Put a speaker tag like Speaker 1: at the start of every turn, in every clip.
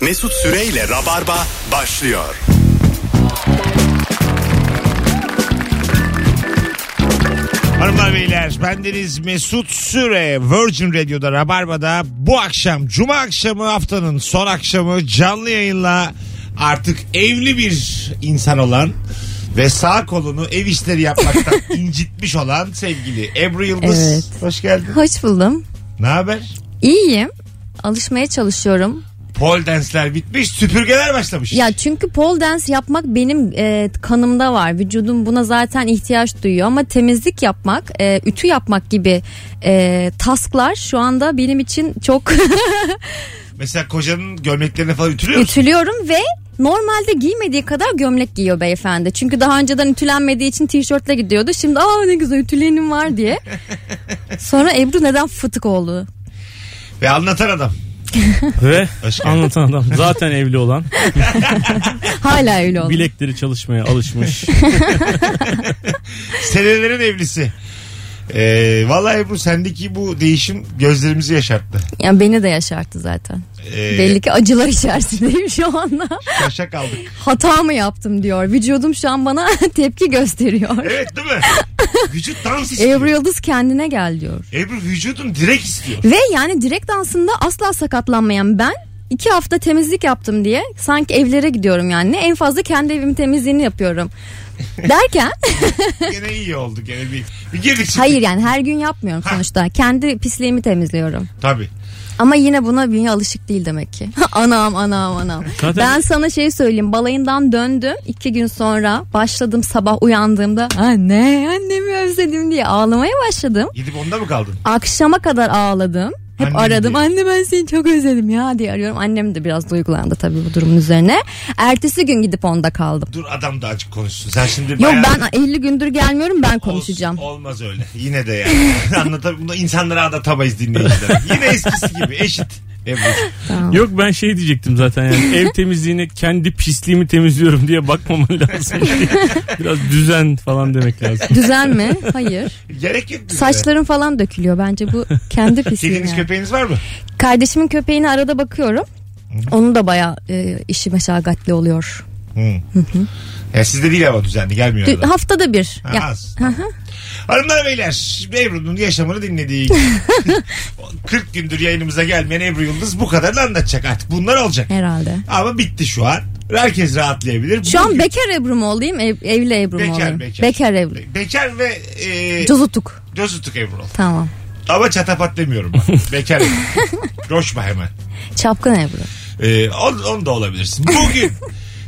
Speaker 1: Mesut Süreyle Rabarba başlıyor.
Speaker 2: Hanımlar beyler bendeniz Mesut Süre Virgin Radio'da Rabarba'da bu akşam Cuma akşamı haftanın son akşamı canlı yayınla artık evli bir insan olan ve sağ kolunu ev işleri yapmaktan incitmiş olan sevgili Ebru Yıldız.
Speaker 3: Evet.
Speaker 2: Hoş geldin.
Speaker 3: Hoş buldum.
Speaker 2: Ne haber?
Speaker 3: İyiyim. Alışmaya çalışıyorum.
Speaker 2: Pol danslar bitmiş, süpürgeler başlamış.
Speaker 3: Ya çünkü pole dance yapmak benim e, kanımda var. Vücudum buna zaten ihtiyaç duyuyor ama temizlik yapmak, e, ütü yapmak gibi e, tasklar şu anda benim için çok
Speaker 2: Mesela kocanın gömleklerini falan ütülüyor musun?
Speaker 3: ütülüyorum ve normalde giymediği kadar gömlek giyiyor beyefendi. Çünkü daha önceden ütülenmediği için tişörtle gidiyordu. Şimdi aa ne güzel ütüleyenim var diye. Sonra Ebru neden fıtık oldu?
Speaker 2: Ve anlatan adam.
Speaker 4: Ve
Speaker 2: Hoş geldin.
Speaker 4: anlatan adam zaten evli olan
Speaker 3: Hala öyle oldu.
Speaker 4: bilekleri çalışmaya alışmış.
Speaker 2: Senelerin evlisi. Ee, vallahi Ebru sendeki bu değişim gözlerimizi yaşarttı.
Speaker 3: Ya beni de yaşarttı zaten.
Speaker 2: Ee,
Speaker 3: Belli ki acılar içerisindeyim şu anda.
Speaker 2: Şaşa kaldık.
Speaker 3: Hata mı yaptım diyor. Vücudum şu an bana tepki gösteriyor.
Speaker 2: Evet değil mi? Vücut dans istiyor.
Speaker 3: Ebru
Speaker 2: Ebru,
Speaker 3: Yıldız kendine gel diyor.
Speaker 2: vücudun direkt istiyor.
Speaker 3: Ve yani direkt dansında asla sakatlanmayan ben iki hafta temizlik yaptım diye sanki evlere gidiyorum yani. Ne En fazla kendi evim temizliğini yapıyorum. Derken
Speaker 2: Gene iyi oldu. Gene bir, bir girdik çıktık.
Speaker 3: hayır yani her gün yapmıyorum sonuçta. Kendi pisliğimi temizliyorum.
Speaker 2: Tabii.
Speaker 3: Ama yine buna bünye alışık değil demek ki. anam anam anam.
Speaker 4: Zaten-
Speaker 3: Ben sana şey söyleyeyim. Balayından döndüm. iki gün sonra başladım sabah uyandığımda. Anne annemi özledim diye ağlamaya başladım.
Speaker 2: Gidip onda mı kaldın?
Speaker 3: Akşama kadar ağladım. Hep
Speaker 2: Annem
Speaker 3: aradım.
Speaker 2: diye.
Speaker 3: Anne ben seni çok özledim ya diye arıyorum. Annem de biraz duygulandı tabii bu durumun üzerine. Ertesi gün gidip onda kaldım.
Speaker 2: Dur adam da açık konuşsun. Sen şimdi
Speaker 3: Yok
Speaker 2: bayağı-
Speaker 3: ben 50 gündür gelmiyorum ben
Speaker 2: Olsun,
Speaker 3: konuşacağım.
Speaker 2: olmaz öyle. Yine de yani. Anlatab bunu insanlara anlatamayız dinleyicilere. Yine eskisi gibi eşit. Ebru.
Speaker 4: Yok ben şey diyecektim zaten yani ev temizliğine kendi pisliğimi temizliyorum diye bakmaman lazım. Biraz düzen falan demek lazım.
Speaker 3: Düzen mi? Hayır.
Speaker 2: Gerek yok. bize.
Speaker 3: Saçların falan dökülüyor bence bu kendi pisliği.
Speaker 2: Kediniz
Speaker 3: yani.
Speaker 2: köpeğiniz var mı?
Speaker 3: Kardeşimin köpeğine arada bakıyorum. Onun da bayağı e, işi meşakkatli oluyor.
Speaker 2: Hı. Ya sizde değil ama düzenli gelmiyor.
Speaker 3: Dü-
Speaker 2: arada.
Speaker 3: haftada bir.
Speaker 2: Ha,
Speaker 3: Ya,
Speaker 2: az. Hanımlar beyler Ebru'nun yaşamını dinlediği 40 gündür yayınımıza gelmeyen Ebru Yıldız bu kadarını anlatacak artık. Bunlar olacak.
Speaker 3: herhalde.
Speaker 2: Ama bitti şu an. Herkes rahatlayabilir.
Speaker 3: Şu an
Speaker 2: Bugün-
Speaker 3: bekar Ebru mu olayım? ev- evli Ebru mu
Speaker 2: Bekar,
Speaker 3: olayım?
Speaker 2: bekar.
Speaker 3: Ebru.
Speaker 2: Bekar ve e,
Speaker 3: Cozutuk.
Speaker 2: cozutuk Ebru ol.
Speaker 3: Tamam.
Speaker 2: Ama çatapat demiyorum ben. Bekar Ebru. Coşma hemen.
Speaker 3: Çapkın Ebru.
Speaker 2: E, on, on da olabilirsin. Bugün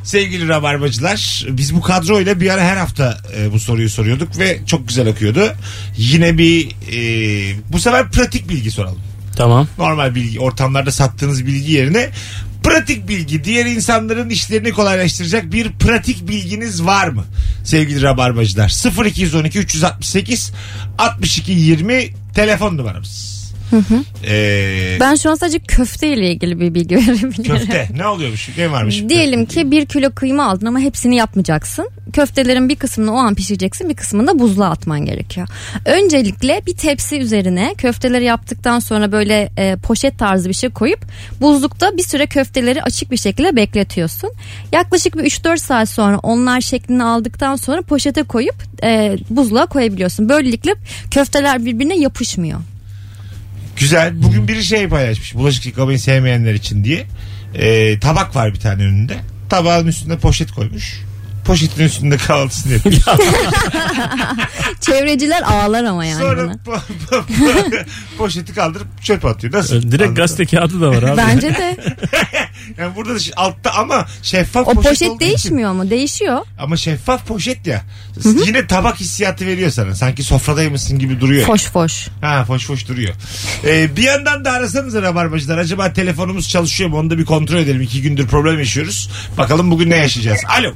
Speaker 2: sevgili rabarbacılar biz bu kadroyla bir ara her hafta e, bu soruyu soruyorduk ve çok güzel okuyordu. Yine bir e, bu sefer pratik bilgi soralım.
Speaker 4: Tamam.
Speaker 2: normal bilgi ortamlarda sattığınız bilgi yerine pratik bilgi diğer insanların işlerini kolaylaştıracak bir pratik bilginiz var mı? Sevgili Rabarbacılar 0212 368 62 20 telefon numaramız. Ee,
Speaker 3: Ben şu an sadece köfte ile ilgili bir bilgi verebilirim.
Speaker 2: köfte ne oluyormuş ne varmış?
Speaker 3: Diyelim ki bir kilo kıyma aldın ama hepsini yapmayacaksın. Köftelerin bir kısmını o an pişireceksin bir kısmını da buzluğa atman gerekiyor. Öncelikle bir tepsi üzerine köfteleri yaptıktan sonra böyle e, poşet tarzı bir şey koyup buzlukta bir süre köfteleri açık bir şekilde bekletiyorsun. Yaklaşık bir 3-4 saat sonra onlar şeklini aldıktan sonra poşete koyup e, buzluğa koyabiliyorsun. Böylelikle köfteler birbirine yapışmıyor.
Speaker 2: Güzel bugün biri şey paylaşmış bulaşık yıkamayı sevmeyenler için diye. Ee, tabak var bir tane önünde tabağın üstünde poşet koymuş. Poşetin üstünde kahvaltısını yapıyor.
Speaker 3: Çevreciler ağlar ama yani
Speaker 2: Sonra
Speaker 3: buna.
Speaker 2: po- po- po- poşeti kaldırıp çöp atıyor. Nasıl? Anladın
Speaker 4: Direkt gazete kağıdı da var abi.
Speaker 3: Bence de
Speaker 2: Yani burada da şi- altta ama şeffaf
Speaker 3: o
Speaker 2: poşet,
Speaker 3: poşet
Speaker 2: olduğu için-
Speaker 3: değişmiyor mu? Değişiyor.
Speaker 2: Ama şeffaf poşet ya. Yine tabak hissiyatı veriyor sana. Sanki sofradaymışsın gibi duruyor.
Speaker 3: Foş foş.
Speaker 2: Ha foş foş duruyor. Ee, bir yandan da arasanıza rabarbacılar. Acaba telefonumuz çalışıyor mu? Onu da bir kontrol edelim. İki gündür problem yaşıyoruz. Bakalım bugün ne yaşayacağız. Alo.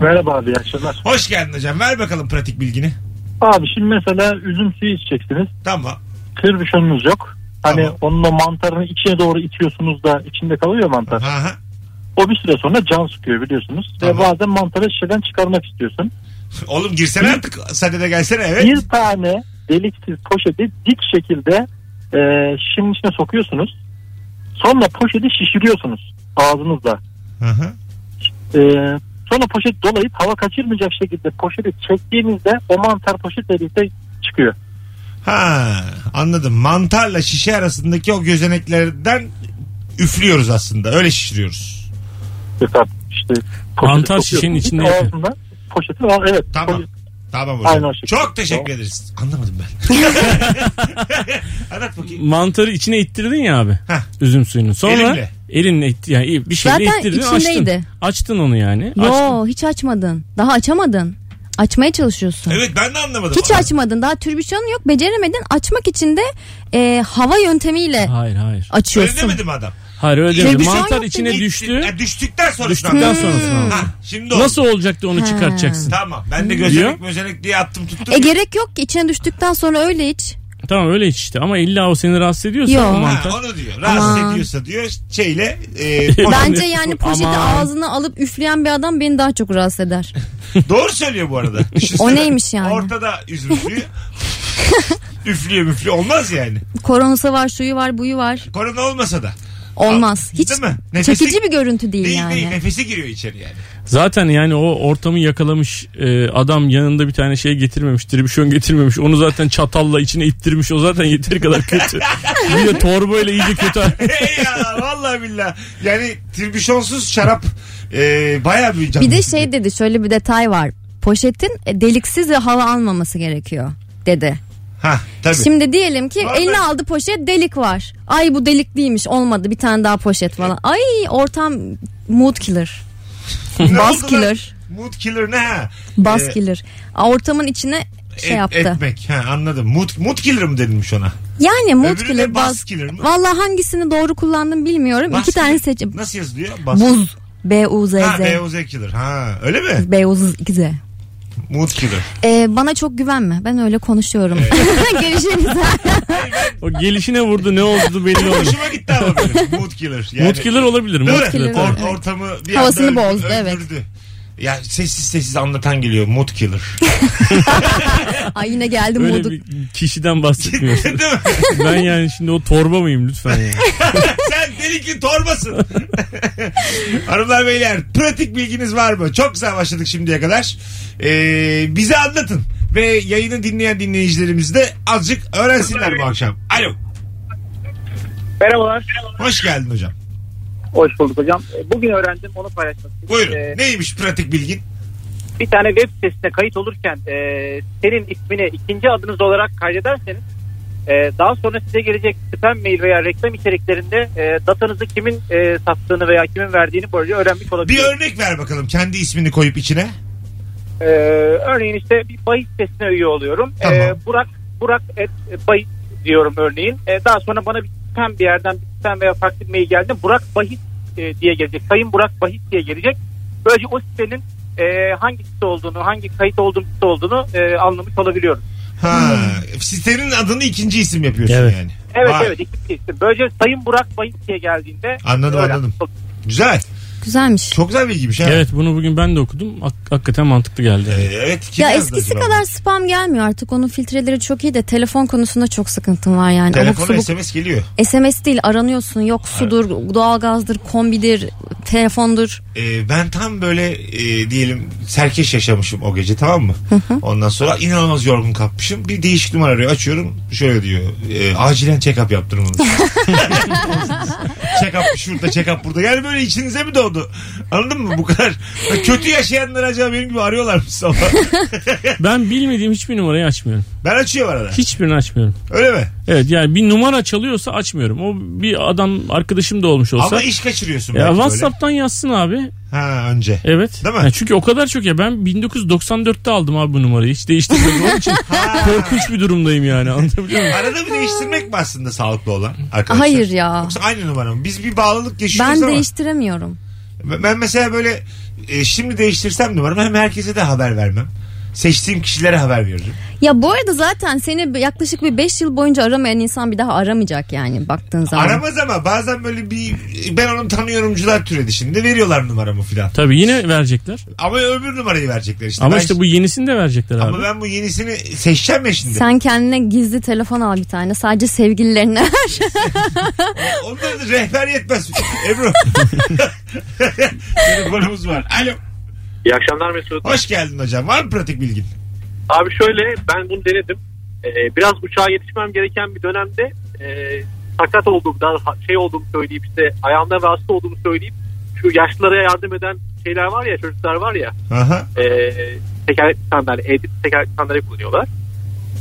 Speaker 5: Merhaba abi iyi akşamlar.
Speaker 2: Hoş geldin hocam. Ver bakalım pratik bilgini.
Speaker 5: Abi şimdi mesela üzüm suyu içeceksiniz.
Speaker 2: Tamam.
Speaker 5: Kırbüşonunuz yok. Hani
Speaker 2: Tamam.
Speaker 5: onunla mantarını içine doğru itiyorsunuz da içinde kalıyor ya mantar.
Speaker 2: Aha.
Speaker 5: O bir süre sonra can sıkıyor biliyorsunuz.
Speaker 2: Tamam.
Speaker 5: Ve bazen mantarı şişeden çıkarmak istiyorsun.
Speaker 2: Oğlum girsene artık. Sen de gelsene evet.
Speaker 5: Bir tane deliksiz poşeti dik şekilde e, şişenin içine sokuyorsunuz. Sonra poşeti şişiriyorsunuz ağzınızla.
Speaker 2: Aha.
Speaker 5: Ee, sonra poşet dolayıp hava kaçırmayacak şekilde poşeti çektiğinizde o mantar poşetle birlikte çıkıyor.
Speaker 2: Ha anladım. Mantarla şişe arasındaki o gözeneklerden üflüyoruz aslında. Öyle şişiriyoruz.
Speaker 5: Mesela işte poşeti
Speaker 4: Mantar
Speaker 5: sokuyorsunuz.
Speaker 4: şişenin içinde
Speaker 5: Ağzında poşeti var evet.
Speaker 2: Tamam.
Speaker 5: Poşet-
Speaker 2: Tamam hocam.
Speaker 5: Aynen o şekilde.
Speaker 2: Çok teşekkür
Speaker 5: Tamam.
Speaker 2: ederiz. Anlamadım ben. Anlat bakayım.
Speaker 4: Mantarı içine ittirdin ya abi.
Speaker 2: Hah.
Speaker 4: Üzüm suyunu. Sonra
Speaker 2: Elimle.
Speaker 4: elinle itti yani bir şeyle
Speaker 3: Zaten
Speaker 4: ittirdin
Speaker 3: içindeydi.
Speaker 4: açtın. Açtın onu yani. Açtın.
Speaker 3: Yo hiç açmadın. Daha açamadın. Açmaya çalışıyorsun.
Speaker 2: Evet ben de anlamadım.
Speaker 3: Hiç açmadın. Daha türbüsiyonun yok. Beceremedin. Açmak için de e, hava yöntemiyle
Speaker 4: Hayır hayır.
Speaker 2: Öyle
Speaker 3: açıyorsun.
Speaker 2: demedim adam.
Speaker 4: Hayır öyle
Speaker 3: Şey,
Speaker 4: demedim.
Speaker 3: bir şey
Speaker 4: Mantar
Speaker 3: yok
Speaker 4: içine
Speaker 3: dedi.
Speaker 4: düştü.
Speaker 2: Ha, e, düştükten sonra.
Speaker 4: Düştükten sonrasını aldın.
Speaker 2: Ha, şimdi oldu.
Speaker 4: Nasıl olacaktı onu
Speaker 3: Ha.
Speaker 4: çıkartacaksın?
Speaker 2: Tamam. Ben de
Speaker 4: Diyor.
Speaker 2: gözenek mözenek diye attım tuttum.
Speaker 3: E gerek yok ki. İçine düştükten sonra öyle iç.
Speaker 4: Tamam öyle iç işte ama illa o seni rahatsız ediyorsa
Speaker 3: Yo.
Speaker 4: o
Speaker 2: Ha,
Speaker 4: mantar.
Speaker 2: onu diyor. Rahatsız
Speaker 3: Aman.
Speaker 2: ediyorsa diyor şeyle e,
Speaker 3: Bence yani poşeti
Speaker 4: Aman.
Speaker 3: ağzına alıp üfleyen bir adam beni daha çok rahatsız eder.
Speaker 2: Doğru söylüyor bu arada. Düşünsene.
Speaker 3: O neymiş yani?
Speaker 2: Ortada üzümlüyor. üflüyor müflüyor. Olmaz yani.
Speaker 3: Koronası var, şuyu var, buyu var.
Speaker 2: Korona olmasa da.
Speaker 3: Olmaz. Hiç
Speaker 2: Değil mi? Nefesi-
Speaker 3: çekici bir görüntü değil,
Speaker 2: Değil
Speaker 3: yani.
Speaker 2: değil. Nefesi giriyor içeri yani.
Speaker 4: Zaten yani o ortamı yakalamış e, adam yanında bir tane şey getirmemiş. Tribüşon getirmemiş. Onu zaten çatalla içine ittirmiş. O zaten yeteri kadar kötü. bir de torbayla iyice kötü.
Speaker 2: Hey ya vallahi billah. Yani tribüşonsuz şarap e, bayağı bir can.
Speaker 3: Bir de şey dedi şöyle bir detay var. Poşetin e, deliksiz ve hava almaması gerekiyor dedi.
Speaker 2: Ha tabii.
Speaker 3: Şimdi diyelim ki
Speaker 2: Var mı?
Speaker 3: eline aldı poşet delik var. Ay bu delikliymiş olmadı bir tane daha poşet falan. Ay ortam mood killer.
Speaker 2: Ne
Speaker 3: Bas
Speaker 2: oldu lan?
Speaker 3: killer.
Speaker 2: Mood killer ne ha?
Speaker 3: Bas
Speaker 2: Ee,
Speaker 3: killer. Aa, Ortamın içine şey
Speaker 2: et-
Speaker 3: yaptı.
Speaker 2: Etmek. Ha, anladım. Mood, mood killer mi denilmiş ona?
Speaker 3: Yani mood
Speaker 2: Öbürü de
Speaker 3: killer
Speaker 2: bas
Speaker 3: bas,
Speaker 2: killer mi?
Speaker 3: Valla hangisini doğru kullandım bilmiyorum.
Speaker 2: Bas
Speaker 3: İki tane
Speaker 2: killer.
Speaker 3: seç.
Speaker 2: Nasıl yazılıyor? Bas.
Speaker 3: Buz. B U Z
Speaker 2: Ha
Speaker 3: Z.
Speaker 2: B.O.Z killer. Ha öyle mi?
Speaker 3: B U Z Z.
Speaker 2: Mood killer.
Speaker 3: Ee, bana çok güvenme. Ben öyle konuşuyorum. Görüşürüz.
Speaker 4: O gelişine vurdu ne oldu belli oldu.
Speaker 2: Hoşuma gitti ama benim. Mood killer. Yani,
Speaker 4: Mood killer olabilir.
Speaker 2: Değil mi?
Speaker 4: Mood killer.
Speaker 3: killer.
Speaker 4: tabii.
Speaker 2: Or- ortamı bir
Speaker 3: Havasını
Speaker 2: anda öldü-
Speaker 3: bozdu, evet.
Speaker 2: öldürdü. Ya sessiz sessiz anlatan geliyor mood killer.
Speaker 3: Ay yine geldi
Speaker 4: Öyle
Speaker 3: moodum.
Speaker 4: bir kişiden bahsetmiyorsun.
Speaker 2: Değil mi?
Speaker 4: ben yani şimdi o torba mıyım lütfen ya.
Speaker 2: Sen delikli torbasın. Hanımlar beyler pratik bilginiz var mı? Çok güzel başladık şimdiye kadar. Ee, bize anlatın. Ve yayını dinleyen dinleyicilerimiz de azıcık öğrensinler bu akşam. Alo.
Speaker 6: Merhabalar.
Speaker 2: Hoş geldin hocam.
Speaker 6: Hoş bulduk hocam. E, Bugün öğrendim onu paylaşmak istedim.
Speaker 2: Buyurun.
Speaker 6: E,
Speaker 2: Neymiş pratik bilgin?
Speaker 6: Bir tane web sitesine kayıt olurken e, senin ismini ikinci adınız olarak kaydederseniz e, daha sonra size gelecek spam mail veya reklam içeriklerinde e, datanızı kimin e, sattığını veya kimin verdiğini böylece öğrenmiş
Speaker 2: Bir
Speaker 6: olabilirsiniz.
Speaker 2: örnek ver bakalım. Kendi ismini koyup içine.
Speaker 6: E, örneğin işte bir bahis sitesine üye oluyorum. E,
Speaker 2: Tamam.
Speaker 6: Burak Burak et e, bahis diyorum örneğin. E, daha sonra bana bir spam bir yerden bir spam veya farklı bir mail geldi. Burak bahis e, diye gelecek. Sayın Burak bahis diye gelecek. Böylece o sitenin e, hangi site olduğunu, hangi kayıt olduğum site olduğunu e, anlamış olabiliyorum.
Speaker 2: Ha, sitenin adını ikinci isim yapıyorsun
Speaker 4: Evet.
Speaker 2: yani.
Speaker 6: Hmm. Evet
Speaker 2: Vay.
Speaker 6: evet ikisi işte. Böylece Sayın Burak Bayık diye geldiğinde
Speaker 2: Anladım,
Speaker 6: öyle.
Speaker 2: anladım. Güzel.
Speaker 3: Güzelmiş.
Speaker 2: Çok güzel bilgiymiş ha.
Speaker 4: Evet bunu bugün ben de okudum. Hak- hakikaten mantıklı geldi.
Speaker 2: Ee, Evet. kim
Speaker 3: ya
Speaker 2: yazdı
Speaker 3: eskisi
Speaker 2: acaba?
Speaker 3: kadar spam gelmiyor artık. Onun filtreleri çok iyi de telefon konusunda çok sıkıntım var yani. Abuk
Speaker 2: Telefona
Speaker 3: subuk
Speaker 2: SMS geliyor.
Speaker 3: SMS değil aranıyorsun. Yok sudur, doğalgazdır, kombidir, telefondur.
Speaker 2: Ee, ben tam böyle e, diyelim serkeş yaşamışım o gece tamam mı? Ondan sonra inanılmaz yorgun kapmışım. Bir değişik numara arıyor. Açıyorum. Şöyle diyor. e, acilen check-up yaptırmanız. check-up şurada check-up burada. Yani böyle içinize mi doğdu? Anladın mı? Bu kadar Ya kötü yaşayanlar acaba benim gibi arıyorlar mı sabah?
Speaker 4: Ben bilmediğim hiçbir numarayı açmıyorum.
Speaker 2: ben açıyorum arada.
Speaker 4: Hiçbirini açmıyorum.
Speaker 2: Öyle mi?
Speaker 4: Evet yani bir numara çalıyorsa açmıyorum. O bir adam arkadaşım da olmuş olsa.
Speaker 2: Ama iş kaçırıyorsun.
Speaker 4: ya
Speaker 2: belki böyle.
Speaker 4: WhatsApp'tan yazsın abi.
Speaker 2: Ha önce.
Speaker 4: Evet.
Speaker 2: Değil mi?
Speaker 4: Ya çünkü o kadar çok ya. Ben 1994'te aldım abi bu numarayı. Hiç değiştirmedim. Onun için korkunç bir durumdayım yani. Anlatabiliyor muyum?
Speaker 2: Arada bir değiştirmek mi aslında sağlıklı olan arkadaşlar?
Speaker 3: Hayır ya.
Speaker 2: Yoksa aynı numara mı? Biz bir bağlılık yaşıyoruz
Speaker 3: Ben
Speaker 2: ama.
Speaker 3: değiştiremiyorum.
Speaker 2: Ben mesela böyle e, şimdi değiştirsem numaramı hem herkese de haber vermem. seçtiğim kişilere haber veririm.
Speaker 3: Ya bu arada zaten seni yaklaşık bir 5 yıl boyunca aramayan insan bir daha aramayacak yani baktığın zaman.
Speaker 2: Aramaz ama bazen böyle bir ben onu tanıyorumcular türedi şimdi veriyorlar numaramı filan.
Speaker 4: Tabii yine verecekler.
Speaker 2: Ama öbür numarayı verecekler işte.
Speaker 4: Ama
Speaker 2: Ben-
Speaker 4: işte bu yenisini de verecekler abi.
Speaker 2: ama ben bu yenisini seçeceğim ya şimdi.
Speaker 3: Sen kendine gizli telefon al bir tane. Sadece sevgililerine.
Speaker 2: Ondan da rehber yetmez. Ebru. Telefonumuz var. Alo.
Speaker 5: İyi akşamlar Mesut.
Speaker 2: Hoş geldin hocam. Var mı pratik bilgin?
Speaker 5: Abi şöyle ben bunu denedim. Ee, biraz uçağa yetişmem gereken bir dönemde e, sakat olduğum, daha ha- şey olduğumu söyleyip işte ayağımdan rahatsız olduğumu söyleyip şu yaşlılara yardım eden şeyler var ya çocuklar var ya
Speaker 2: Aha.
Speaker 5: e, tekerlekli sandalye, edip tekerlekli sandalye kullanıyorlar.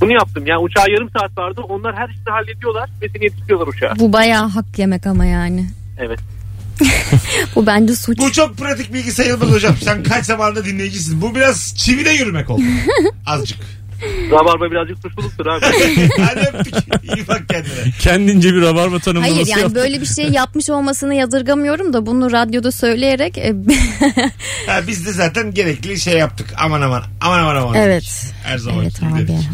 Speaker 5: Bunu yaptım. Yani uçağa yarım saat vardı. Onlar her işi hallediyorlar ve seni yetiştiriyorlar uçağa.
Speaker 3: bu bayağı hak yemek ama yani.
Speaker 5: Evet.
Speaker 3: Bu bence suç.
Speaker 2: Bu çok pratik bilgi sayılmaz hocam. Sen kaç zamanda dinleyicisin. Bu biraz çivide yürümek oldu. Azıcık.
Speaker 5: Rabarba birazcık suçluluktur abi.
Speaker 2: Hadi öptük. İyi bak kendine.
Speaker 4: Kendince bir rabarba tanımlaması
Speaker 3: Hayır yani
Speaker 4: yaptı.
Speaker 3: böyle bir şey yapmış olmasını yadırgamıyorum da bunu radyoda söyleyerek e,
Speaker 2: Ha, biz de zaten gerekli şey yaptık. Aman aman. Aman aman aman.
Speaker 3: evet.
Speaker 2: Her zaman
Speaker 3: Evet abi olmaz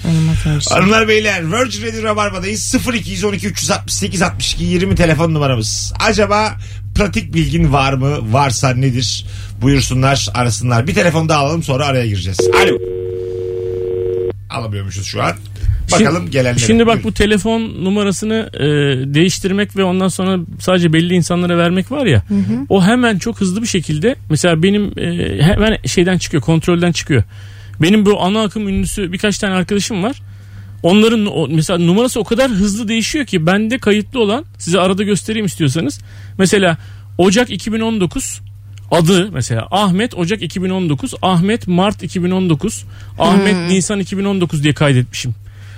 Speaker 3: öyle şey.
Speaker 2: Hanımlar beyler Virgin Radio Rabarba'dayız 0212 368 62 20 telefon numaramız. Acaba pratik bilgin var mı? Varsa nedir? Buyursunlar arasınlar. Bir telefon daha alalım sonra araya gireceğiz. Alo. Alamıyormuşuz şu an. Bakalım
Speaker 4: Şimdi-
Speaker 2: gelenlere.
Speaker 4: Şimdi bak
Speaker 2: Buyurun.
Speaker 4: bu telefon numarasını e, değiştirmek ve ondan sonra sadece belli insanlara vermek var ya. O hemen çok hızlı bir şekilde mesela benim e, hemen şeyden çıkıyor kontrolden çıkıyor. Benim bu ana akım ünlüsü birkaç tane arkadaşım var. Onların o- mesela numarası o kadar hızlı değişiyor ki bende kayıtlı olan size arada göstereyim istiyorsanız. Mesela Ocak 2019 adı mesela Ahmet Ocak 2019, Ahmet Mart 2019, Ahmet Nisan 2019 diye kaydetmişim.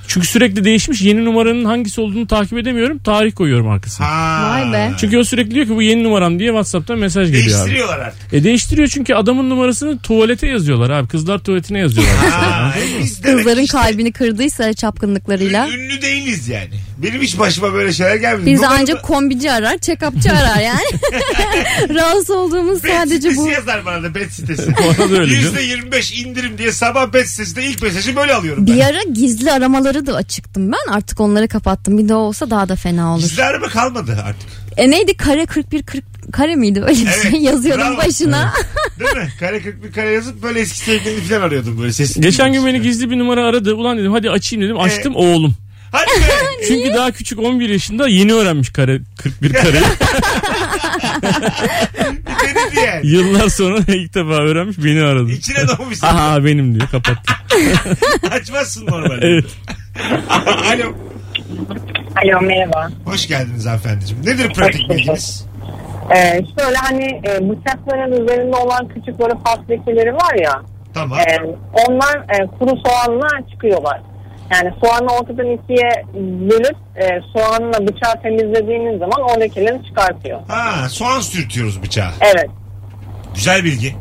Speaker 4: Çünkü sürekli değişmiş yeni numaranın hangisi olduğunu takip edemiyorum. Tarih koyuyorum arkasına.
Speaker 2: Ha.
Speaker 3: Vay be.
Speaker 4: Çünkü o sürekli diyor ki bu yeni numaram diye Whatsapp'tan mesaj geliyor abi.
Speaker 2: Değiştiriyorlar artık.
Speaker 4: E değiştiriyor çünkü adamın numarasını tuvalete yazıyorlar abi. Kızlar tuvaletine yazıyorlar.
Speaker 2: Ha, e biz demek
Speaker 3: Kızların
Speaker 2: işte
Speaker 3: kalbini kırdıysa çapkınlıklarıyla.
Speaker 2: Ünlü değiliz yani. Benim hiç başıma böyle şeyler gelmedi.
Speaker 3: Biz de
Speaker 2: Numaramı-
Speaker 3: ancak kombinci arar, check-upçı arar yani. Rahatsız olduğumuz
Speaker 2: Bet
Speaker 3: sadece
Speaker 2: sitesi
Speaker 3: bu.
Speaker 2: yazar bana da bet sitesi.
Speaker 4: Bana da öyle canım.
Speaker 2: %25 indirim diye sabah bet sitesinde ilk mesajı böyle alıyorum ben.
Speaker 3: Bir ara gizli aramaları da açıktım ben. Artık onları kapattım. Bir de o olsa daha da fena olur.
Speaker 2: Bizde araba kalmadı artık.
Speaker 3: E neydi kare 41 40 kare miydi öyle bir
Speaker 2: Evet,
Speaker 3: şey yazıyordum
Speaker 2: bravo.
Speaker 3: başına.
Speaker 2: Değil mi? Kare 41 kare yazıp böyle eski sevgilini falan arıyordum böyle sesini.
Speaker 4: Geçen gün beni gizli bir numara aradı. Ulan dedim hadi açayım dedim. Açtım oğlum.
Speaker 2: Hadi be.
Speaker 3: Hani?
Speaker 4: Çünkü daha küçük 11 yaşında yeni öğrenmiş kare 41 kareyi.
Speaker 2: ne dedi yani?
Speaker 4: Yıllar sonra ilk defa öğrenmiş beni aradı.
Speaker 2: İçine doğmuşsun.
Speaker 4: Aha benim diyor kapattı.
Speaker 2: Açmazsın normalde.
Speaker 4: Evet.
Speaker 2: Alo.
Speaker 7: Alo merhaba.
Speaker 2: Hoş geldiniz hanımefendiciğim. Nedir pratik
Speaker 7: Hoş bulduk.
Speaker 2: bilginiz?
Speaker 7: Ee, şöyle hani e, bıçakların üzerinde olan küçük böyle pas lekeleri var ya.
Speaker 2: Tamam.
Speaker 7: e, onlar e, kuru soğanla çıkıyorlar. Yani soğanı ortadan ikiye bölüp e, soğanla bıçağı temizlediğiniz zaman o lekeleri çıkartıyor.
Speaker 2: Ha, soğan sürtüyoruz bıçağa.
Speaker 7: Evet.
Speaker 2: Güzel bilgi.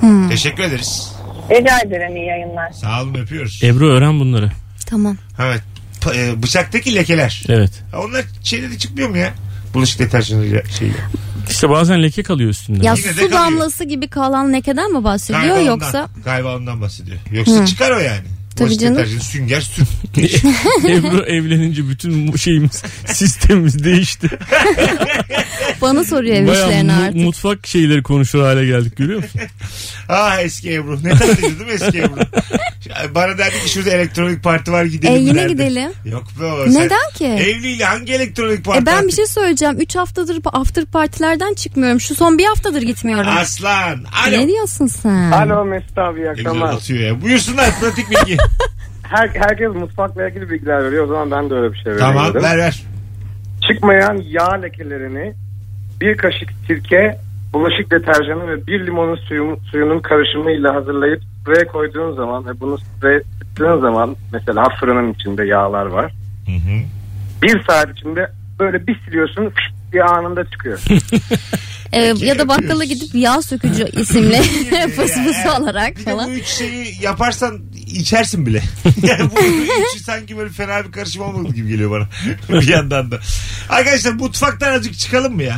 Speaker 3: Hmm.
Speaker 2: Teşekkür ederiz.
Speaker 7: Rica ederim iyi yayınlar.
Speaker 2: Sağ olun öpüyoruz.
Speaker 4: Ebru öğren bunları.
Speaker 3: Tamam.
Speaker 2: Evet. Pa- e, Bıçaktaki lekeler.
Speaker 4: Evet.
Speaker 2: Ha, Onlar şeyde de çıkmıyor mu ya? Bulaşık deterjanıyla şeyle.
Speaker 4: İşte bazen leke kalıyor üstünde.
Speaker 3: Ya
Speaker 2: Yine de
Speaker 3: su
Speaker 2: kalıyor.
Speaker 3: damlası gibi kalan lekeden mi bahsediyor
Speaker 2: Galiba
Speaker 3: yoksa
Speaker 2: ondan. Galiba ondan bahsediyor. Yoksa çıkar o yani.
Speaker 3: Tabii
Speaker 2: Bulaşık
Speaker 3: canım.
Speaker 2: deterjanı, sünger süt.
Speaker 4: Ebru evlenince bütün bu şeyimiz sistemimiz değişti.
Speaker 3: bana soruyor ev
Speaker 4: Bayağı
Speaker 3: işlerini
Speaker 4: mu-
Speaker 3: artık.
Speaker 4: mutfak şeyleri konuşur hale geldik görüyor musun?
Speaker 2: Ah eski Ebru. Ne tatlıydı değil mi eski Ebru? Bana derdi ki şurada elektronik parti var gidelim.
Speaker 3: E, yine
Speaker 2: derdi.
Speaker 3: gidelim.
Speaker 2: Yok be o. sen-
Speaker 3: Neden ki?
Speaker 2: Evliyle hangi elektronik parti?
Speaker 3: E ben bir
Speaker 2: artık?
Speaker 3: şey söyleyeceğim. 3 haftadır bu after partilerden çıkmıyorum. Şu son bir haftadır gitmiyorum.
Speaker 2: Aslan. Alo.
Speaker 3: şey- Ne
Speaker 2: Ne
Speaker 3: diyorsun sen?
Speaker 8: Alo Mesut abi iyi
Speaker 2: güzel
Speaker 8: akşamlar.
Speaker 2: anlatıyor ya. Buyursunlar pratik bilgi.
Speaker 8: Her, herkes mutfakla ilgili bilgiler veriyor. O zaman ben de öyle bir şey vereyim
Speaker 2: tamam
Speaker 8: dedim.
Speaker 2: ver ver.
Speaker 8: Çıkmayan yağ lekelerini bir kaşık sirke, bulaşık deterjanı ve bir limonun suyu, suyunun karışımıyla hazırlayıp spreye koyduğun zaman ve bunu spreye sıktığın zaman mesela fırının içinde yağlar var.
Speaker 2: Hı hı.
Speaker 8: Bir saat içinde böyle bir siliyorsun fışt diye anında çıkıyor.
Speaker 3: E, ya da bakkala
Speaker 2: yapıyoruz.
Speaker 3: gidip yağ sökücü isimli fıs
Speaker 2: Ya, evet.
Speaker 3: fıs alarak
Speaker 2: Bir de bu
Speaker 3: falan.
Speaker 2: üç şeyi yaparsan içersin bile. yani bu üçü sanki böyle fena bir karışım olmadı gibi geliyor bana. bir yandan da. Arkadaşlar mutfaktan azıcık çıkalım mı ya?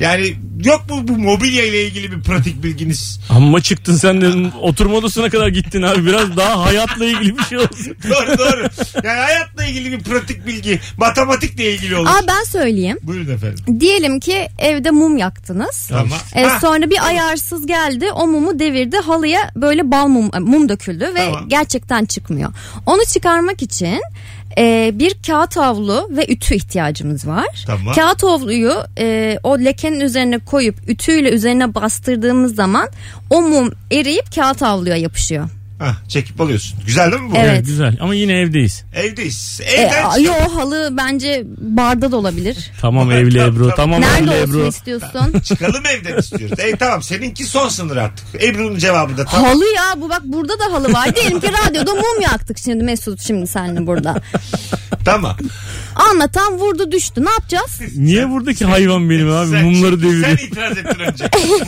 Speaker 2: Yani yok mu bu mobilya ile ilgili bir pratik bilginiz?
Speaker 4: Amma çıktın sen de oturma odasına kadar gittin abi. Biraz daha hayatla ilgili bir şey olsun.
Speaker 2: doğru doğru. Yani hayatla ilgili bir pratik bilgi, matematikle ilgili olur.
Speaker 3: Aa ben söyleyeyim.
Speaker 2: Buyurun efendim.
Speaker 3: Diyelim ki evde mum yaktınız.
Speaker 2: Tamam.
Speaker 3: E,
Speaker 2: Ha,
Speaker 3: sonra bir ayarsız geldi o mumu devirdi halıya böyle bal mum, e, mum döküldü ve
Speaker 2: Tamam.
Speaker 3: gerçekten çıkmıyor. Onu çıkarmak için e, bir kağıt havlu ve ütü ihtiyacımız var.
Speaker 2: Tamam.
Speaker 3: Kağıt havluyu e, o lekenin üzerine koyup ütüyle üzerine bastırdığımız zaman o mum eriyip kağıt havluya yapışıyor.
Speaker 2: ha, çekip alıyorsun. Güzel değil mi bu?
Speaker 3: Evet.
Speaker 4: Güzel ama yine evdeyiz.
Speaker 2: Evdeyiz.
Speaker 3: E,
Speaker 2: Evden
Speaker 3: a-
Speaker 2: çık-
Speaker 3: yo halı bence barda da olabilir.
Speaker 4: Tamam evli Ebru. Tamam
Speaker 3: Nerede
Speaker 4: evli
Speaker 3: olsun
Speaker 4: Ebru.
Speaker 3: istiyorsun?
Speaker 2: çıkalım evden istiyoruz. E tamam seninki son sınır artık. Ebru'nun cevabı da tamam.
Speaker 3: Halı ya bu bak burada da halı var. Diyelim ki radyoda mum yaktık şimdi Mesut şimdi seninle burada.
Speaker 2: tamam.
Speaker 3: Anlatan vurdu düştü. Ne yapacağız?
Speaker 4: Niye buradaki hayvan benim abi?
Speaker 2: Sen-
Speaker 4: Mumları deviriyor.
Speaker 2: Sen itiraz ettin önce. Kızın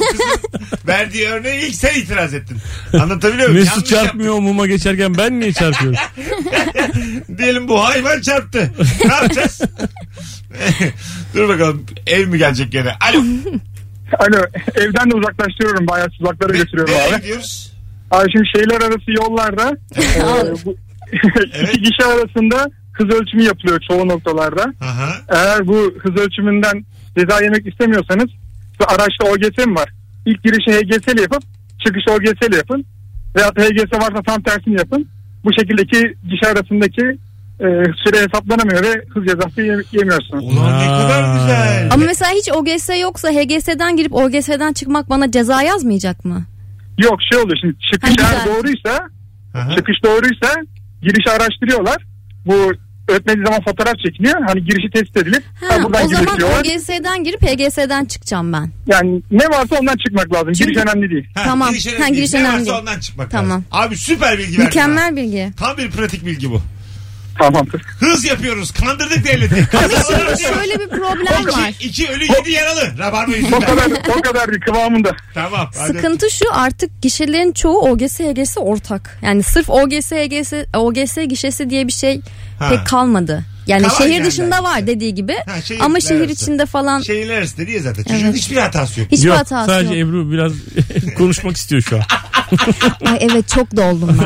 Speaker 2: Verdiği örneği ilk sen itiraz ettin. Anlatabiliyor muyum?
Speaker 4: Mesut
Speaker 2: Yanlış
Speaker 4: çarpmıyor muma geçerken ben niye çarpıyorum?
Speaker 2: yaptın. Diyelim bu hayvan çarptı. Ne yapacağız? Dur bakalım ev mi gelecek gene? Alo.
Speaker 9: Alo Hani evden de uzaklaştırıyorum bayağı uzaklara götürüyorum
Speaker 2: Nereye
Speaker 9: abi.
Speaker 2: gidiyoruz?
Speaker 9: Abi şimdi şehirler arası yollarda e, bu,
Speaker 2: Evet.
Speaker 9: iki kişi arasında hız ölçümü yapılıyor çoğu noktalarda.
Speaker 2: Aha.
Speaker 9: Eğer bu hız ölçümünden ceza yemek istemiyorsanız size araçta OGS mi var? İlk girişi HGS ile yapıp çıkışı OGS ile yapın. Veya HGS varsa tam tersini yapın. Bu şekildeki kişi arasındaki e, süre hesaplanamıyor ve hız cezası ye- yemiyorsunuz.
Speaker 2: Ulan ne
Speaker 4: Aa.
Speaker 2: kadar güzel.
Speaker 3: Ama mesela hiç OGS yoksa HGS'den girip OGS'den çıkmak bana ceza yazmayacak mı?
Speaker 9: Yok şey oluyor şimdi çıkış
Speaker 3: Ha,
Speaker 9: eğer
Speaker 3: güzel.
Speaker 9: doğruysa
Speaker 2: Aha.
Speaker 9: çıkış doğruysa girişi araştırıyorlar. Bu ötmediği zaman fotoğraf çekiliyor. Hani girişi test edilip
Speaker 3: Ha,
Speaker 9: ha, buradan
Speaker 3: o zaman
Speaker 9: giriş diyorlar.
Speaker 3: OGS'den girip HGS'den çıkacağım ben.
Speaker 9: Yani ne varsa ondan çıkmak lazım. Giriş önemli değil.
Speaker 2: Ha,
Speaker 3: Tamam.
Speaker 2: Giriş
Speaker 3: Ha,
Speaker 2: önemli.
Speaker 3: giriş
Speaker 2: değil. Ne
Speaker 3: önemli
Speaker 2: varsa
Speaker 3: değil.
Speaker 2: ondan çıkmak
Speaker 3: Tamam.
Speaker 2: lazım. Abi süper bilgi verdin. ha.
Speaker 3: Mükemmel bilgi.
Speaker 2: Tam bir pratik bilgi bu.
Speaker 9: Tamamdır.
Speaker 2: Hız yapıyoruz. Kandırdık devleti. Kazalar
Speaker 3: Şöyle bir problem var.
Speaker 2: İki, iki ölü yedi yaralı. Rabarba
Speaker 9: O
Speaker 2: yüzünden.
Speaker 9: kadar, o kadar bir kıvamında.
Speaker 2: tamam. hadi.
Speaker 3: Sıkıntı şu artık gişelerin çoğu OGS HGS ortak. Yani sırf OGS HGS OGS gişesi diye bir şey
Speaker 2: Ha.
Speaker 3: pek kalmadı. Yani
Speaker 2: Kalan
Speaker 3: şehir
Speaker 2: yerler
Speaker 3: dışında var dediği gibi
Speaker 2: Ha, şehir
Speaker 3: ama
Speaker 2: arası.
Speaker 3: şehir içinde falan
Speaker 2: Şehirler arası dedi ya zaten. Çocuğun
Speaker 3: Evet.
Speaker 2: hiçbir hatası yok.
Speaker 3: hiçbir
Speaker 4: Yok
Speaker 3: hatası
Speaker 4: sadece
Speaker 3: yok.
Speaker 4: Ebru biraz konuşmak istiyor şu an.
Speaker 3: Ay evet çok doldum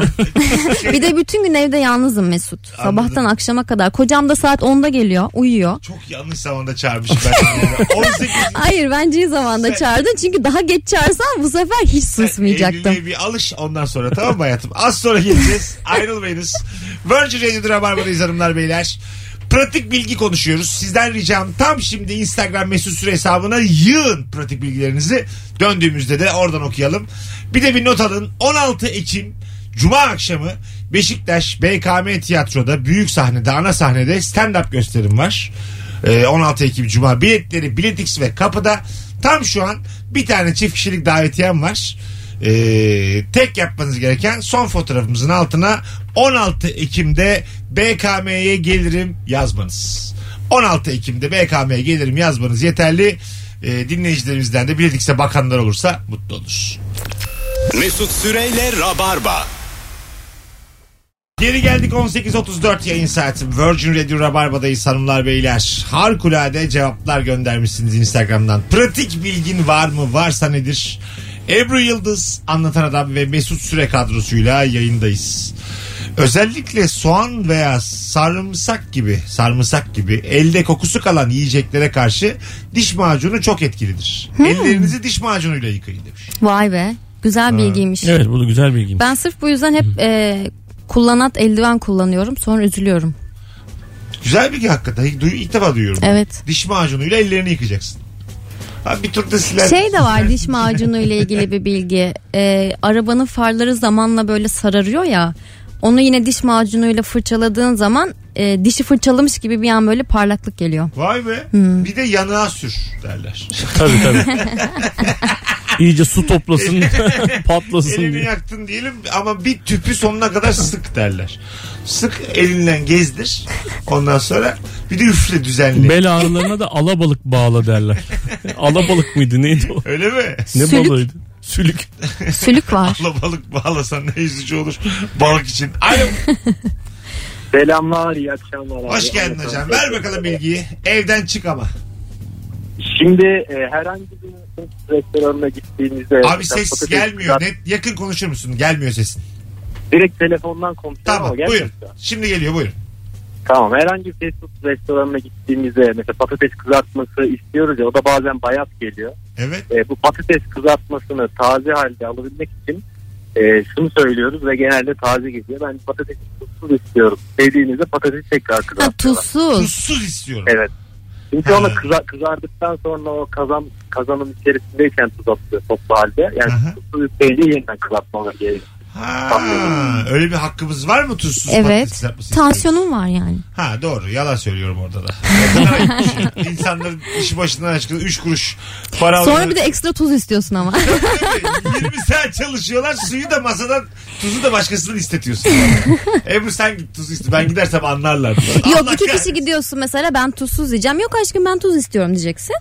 Speaker 3: ben. bir de bütün gün evde yalnızım Mesut. Sabahtan akşama kadar. Kocam da saat 10'da geliyor uyuyor.
Speaker 2: Çok yanlış zamanda çağırmışım ben. seni. 18
Speaker 3: Hayır bence iyi zamanda çağırdın çünkü daha geç çağırsan bu sefer hiç susmayacaktım.
Speaker 2: Evliliğe bir alış ondan sonra tamam mı hayatım? Az sonra geleceğiz. Ayrılmayınız. Virgin Radio'da Rabarba'dayız hanımlar beyler. Pratik bilgi konuşuyoruz. Sizden ricam tam şimdi Instagram mesut süre hesabına yığın pratik bilgilerinizi. Döndüğümüzde de oradan okuyalım. Bir de bir not alın. 16 Ekim Cuma akşamı Beşiktaş BKM Tiyatro'da büyük sahnede ana sahnede stand-up gösterim var. Ee, 16 Ekim Cuma biletleri Biletix ve kapıda tam şu an bir tane çift kişilik davetiyem var. Ee, tek yapmanız gereken son fotoğrafımızın altına 16 Ekim'de BKM'ye gelirim yazmanız. 16 Ekim'de BKM'ye gelirim yazmanız yeterli. Ee, dinleyicilerimizden de Biletix'e bakanlar olursa mutlu olur.
Speaker 1: Mesut Süreyle Rabarba.
Speaker 2: Geri geldik 18.34 yayın saati. Virgin Radio Rabarba'dayız hanımlar beyler. Harikulade cevaplar göndermişsiniz Instagram'dan. Pratik bilgin var mı? Varsa nedir? Ebru Yıldız, Anlatan Adam ve Mesut Süre kadrosuyla yayındayız. Özellikle soğan veya sarımsak gibi, sarımsak gibi elde kokusu kalan yiyeceklere karşı diş macunu çok etkilidir. Ellerinizi diş macunuyla yıkayın demiş.
Speaker 3: Vay be güzel bilgiymiş.
Speaker 4: Evet bu da güzel bilgiymiş.
Speaker 3: Ben sırf bu yüzden hep e, kullanat eldiven kullanıyorum sonra üzülüyorum.
Speaker 2: Güzel bilgi hakikaten. İlk, duy- ilk defa duyuyorum. bunu.
Speaker 3: Evet.
Speaker 2: Diş macunuyla ellerini yıkacaksın. Abi bir tur da siler.
Speaker 3: Şey de var diş macunu ile ilgili bir bilgi. Ee, arabanın farları zamanla böyle sararıyor ya. Onu yine diş macunuyla fırçaladığın zaman e, dişi fırçalamış gibi bir an böyle parlaklık geliyor.
Speaker 2: Vay be. Bir de yanığa sür derler.
Speaker 4: Tabii tabii. İyice su toplasın, patlasın
Speaker 2: Elini
Speaker 4: diye.
Speaker 2: yaktın diyelim ama bir tüpü sonuna kadar sık derler. Sık elinden gezdir. Ondan sonra bir de üfle düzenli.
Speaker 4: Bel ağrılarına da alabalık bağla derler. alabalık mıydı neydi o?
Speaker 2: Öyle mi?
Speaker 4: Ne
Speaker 3: Sülük.
Speaker 4: balığıydı? Sülük.
Speaker 3: Sülük var.
Speaker 2: Abla balık bağlasan ne üzücü olur. Balık için. Alo.
Speaker 6: Selamlar iyi akşamlar.
Speaker 2: Hoş geldin hocam. Ver bakalım bilgiyi. Evden çık ama.
Speaker 5: Şimdi e, herhangi bir Hint restoranına gittiğinizde
Speaker 2: Abi ses
Speaker 5: patates
Speaker 2: gelmiyor. Net, yakın konuşur musun? Gelmiyor sesin.
Speaker 5: direkt telefondan konuşuyorum
Speaker 2: Tamam
Speaker 5: ama gelmiyor.
Speaker 2: buyurun. Şimdi geliyor buyurun.
Speaker 5: Tamam herhangi bir fast food restoranına gittiğimizde mesela patates kızartması istiyoruz ya o da bazen bayat geliyor.
Speaker 2: Evet.
Speaker 5: E, bu patates kızartmasını taze halde alabilmek için e, şunu söylüyoruz ve genelde taze geliyor. Ben patates tuzsuz istiyorum dediğinizde patatesi tekrar
Speaker 3: Ha,
Speaker 5: kızartıyorlar.
Speaker 3: tuzsuz.
Speaker 2: Tuzsuz istiyorum.
Speaker 5: Evet. Çünkü
Speaker 2: Ha.
Speaker 5: onu kıza- kızardıktan sonra o kazan kazanın içerisindeyken tuz atılıyor toplu halde. Yani
Speaker 2: Aha.
Speaker 5: tuzsuz isteyince yeniden kızartmaları gerekiyor.
Speaker 2: Ha, öyle bir hakkımız var mı tuzsuz patates
Speaker 3: Evet.
Speaker 2: kızartması
Speaker 3: Tansiyonum var yani.
Speaker 2: Ha doğru yalan söylüyorum orada da. Ne kadar ayıp bir şey. İnsanların işi başından aşkına 3 kuruş para
Speaker 3: Sonra
Speaker 2: alıyor.
Speaker 3: bir de ekstra tuz istiyorsun ama.
Speaker 2: Tabii, 20 saat çalışıyorlar suyu da masadan tuzu da başkasından istetiyorsun. Ebru sen git tuzu iste ben gidersem anlarlar.
Speaker 3: Yok
Speaker 2: Allah
Speaker 3: iki kişi
Speaker 2: kahretsin.
Speaker 3: gidiyorsun mesela ben tuzsuz yiyeceğim. Yok aşkım ben tuz istiyorum diyeceksin.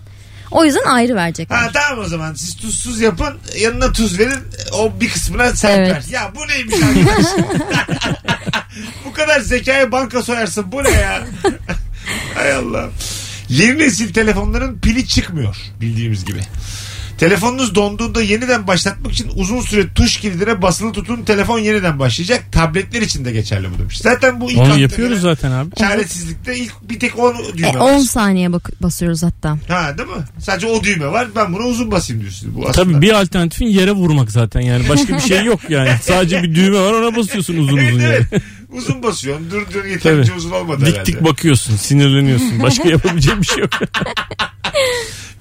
Speaker 3: O yüzden ayrı verecekler. E,
Speaker 2: Ha tamam o zaman siz tuzsuz yapın yanına tuz verin o bir kısmına sen
Speaker 3: Evet.
Speaker 2: ver. Ya bu neymiş arkadaş? bu kadar zekaya banka soyarsın bu ne ya? Hay Allah. Yeni nesil telefonların pili çıkmıyor bildiğimiz gibi. Telefonunuz donduğunda yeniden başlatmak için uzun süre tuş kilidine basılı tutun telefon yeniden başlayacak. Tabletler için de geçerli bu demiş. Zaten bu ilk
Speaker 4: Onu
Speaker 2: akla
Speaker 4: yapıyoruz
Speaker 2: gelen şey
Speaker 4: zaten abi.
Speaker 2: Çaresizlikte ilk bir tek onu düğme
Speaker 3: E,
Speaker 2: var.
Speaker 3: 10 saniye bak- basıyoruz hatta.
Speaker 2: Ha değil mi? Sadece o düğme var. Ben buna uzun basayım diyorsun. Bu aslında.
Speaker 4: Tabii bir alternatifin yere vurmak zaten yani. Başka bir şey yok yani. Sadece bir düğme var ona basıyorsun uzun
Speaker 2: Evet,
Speaker 4: uzun yani.
Speaker 2: evet. Uzun basıyorsun. Dur dur yeterince
Speaker 4: Tabii.
Speaker 2: uzun olmadı
Speaker 4: Dik
Speaker 2: herhalde.
Speaker 4: dik bakıyorsun sinirleniyorsun. Başka yapabileceğim bir şey yok.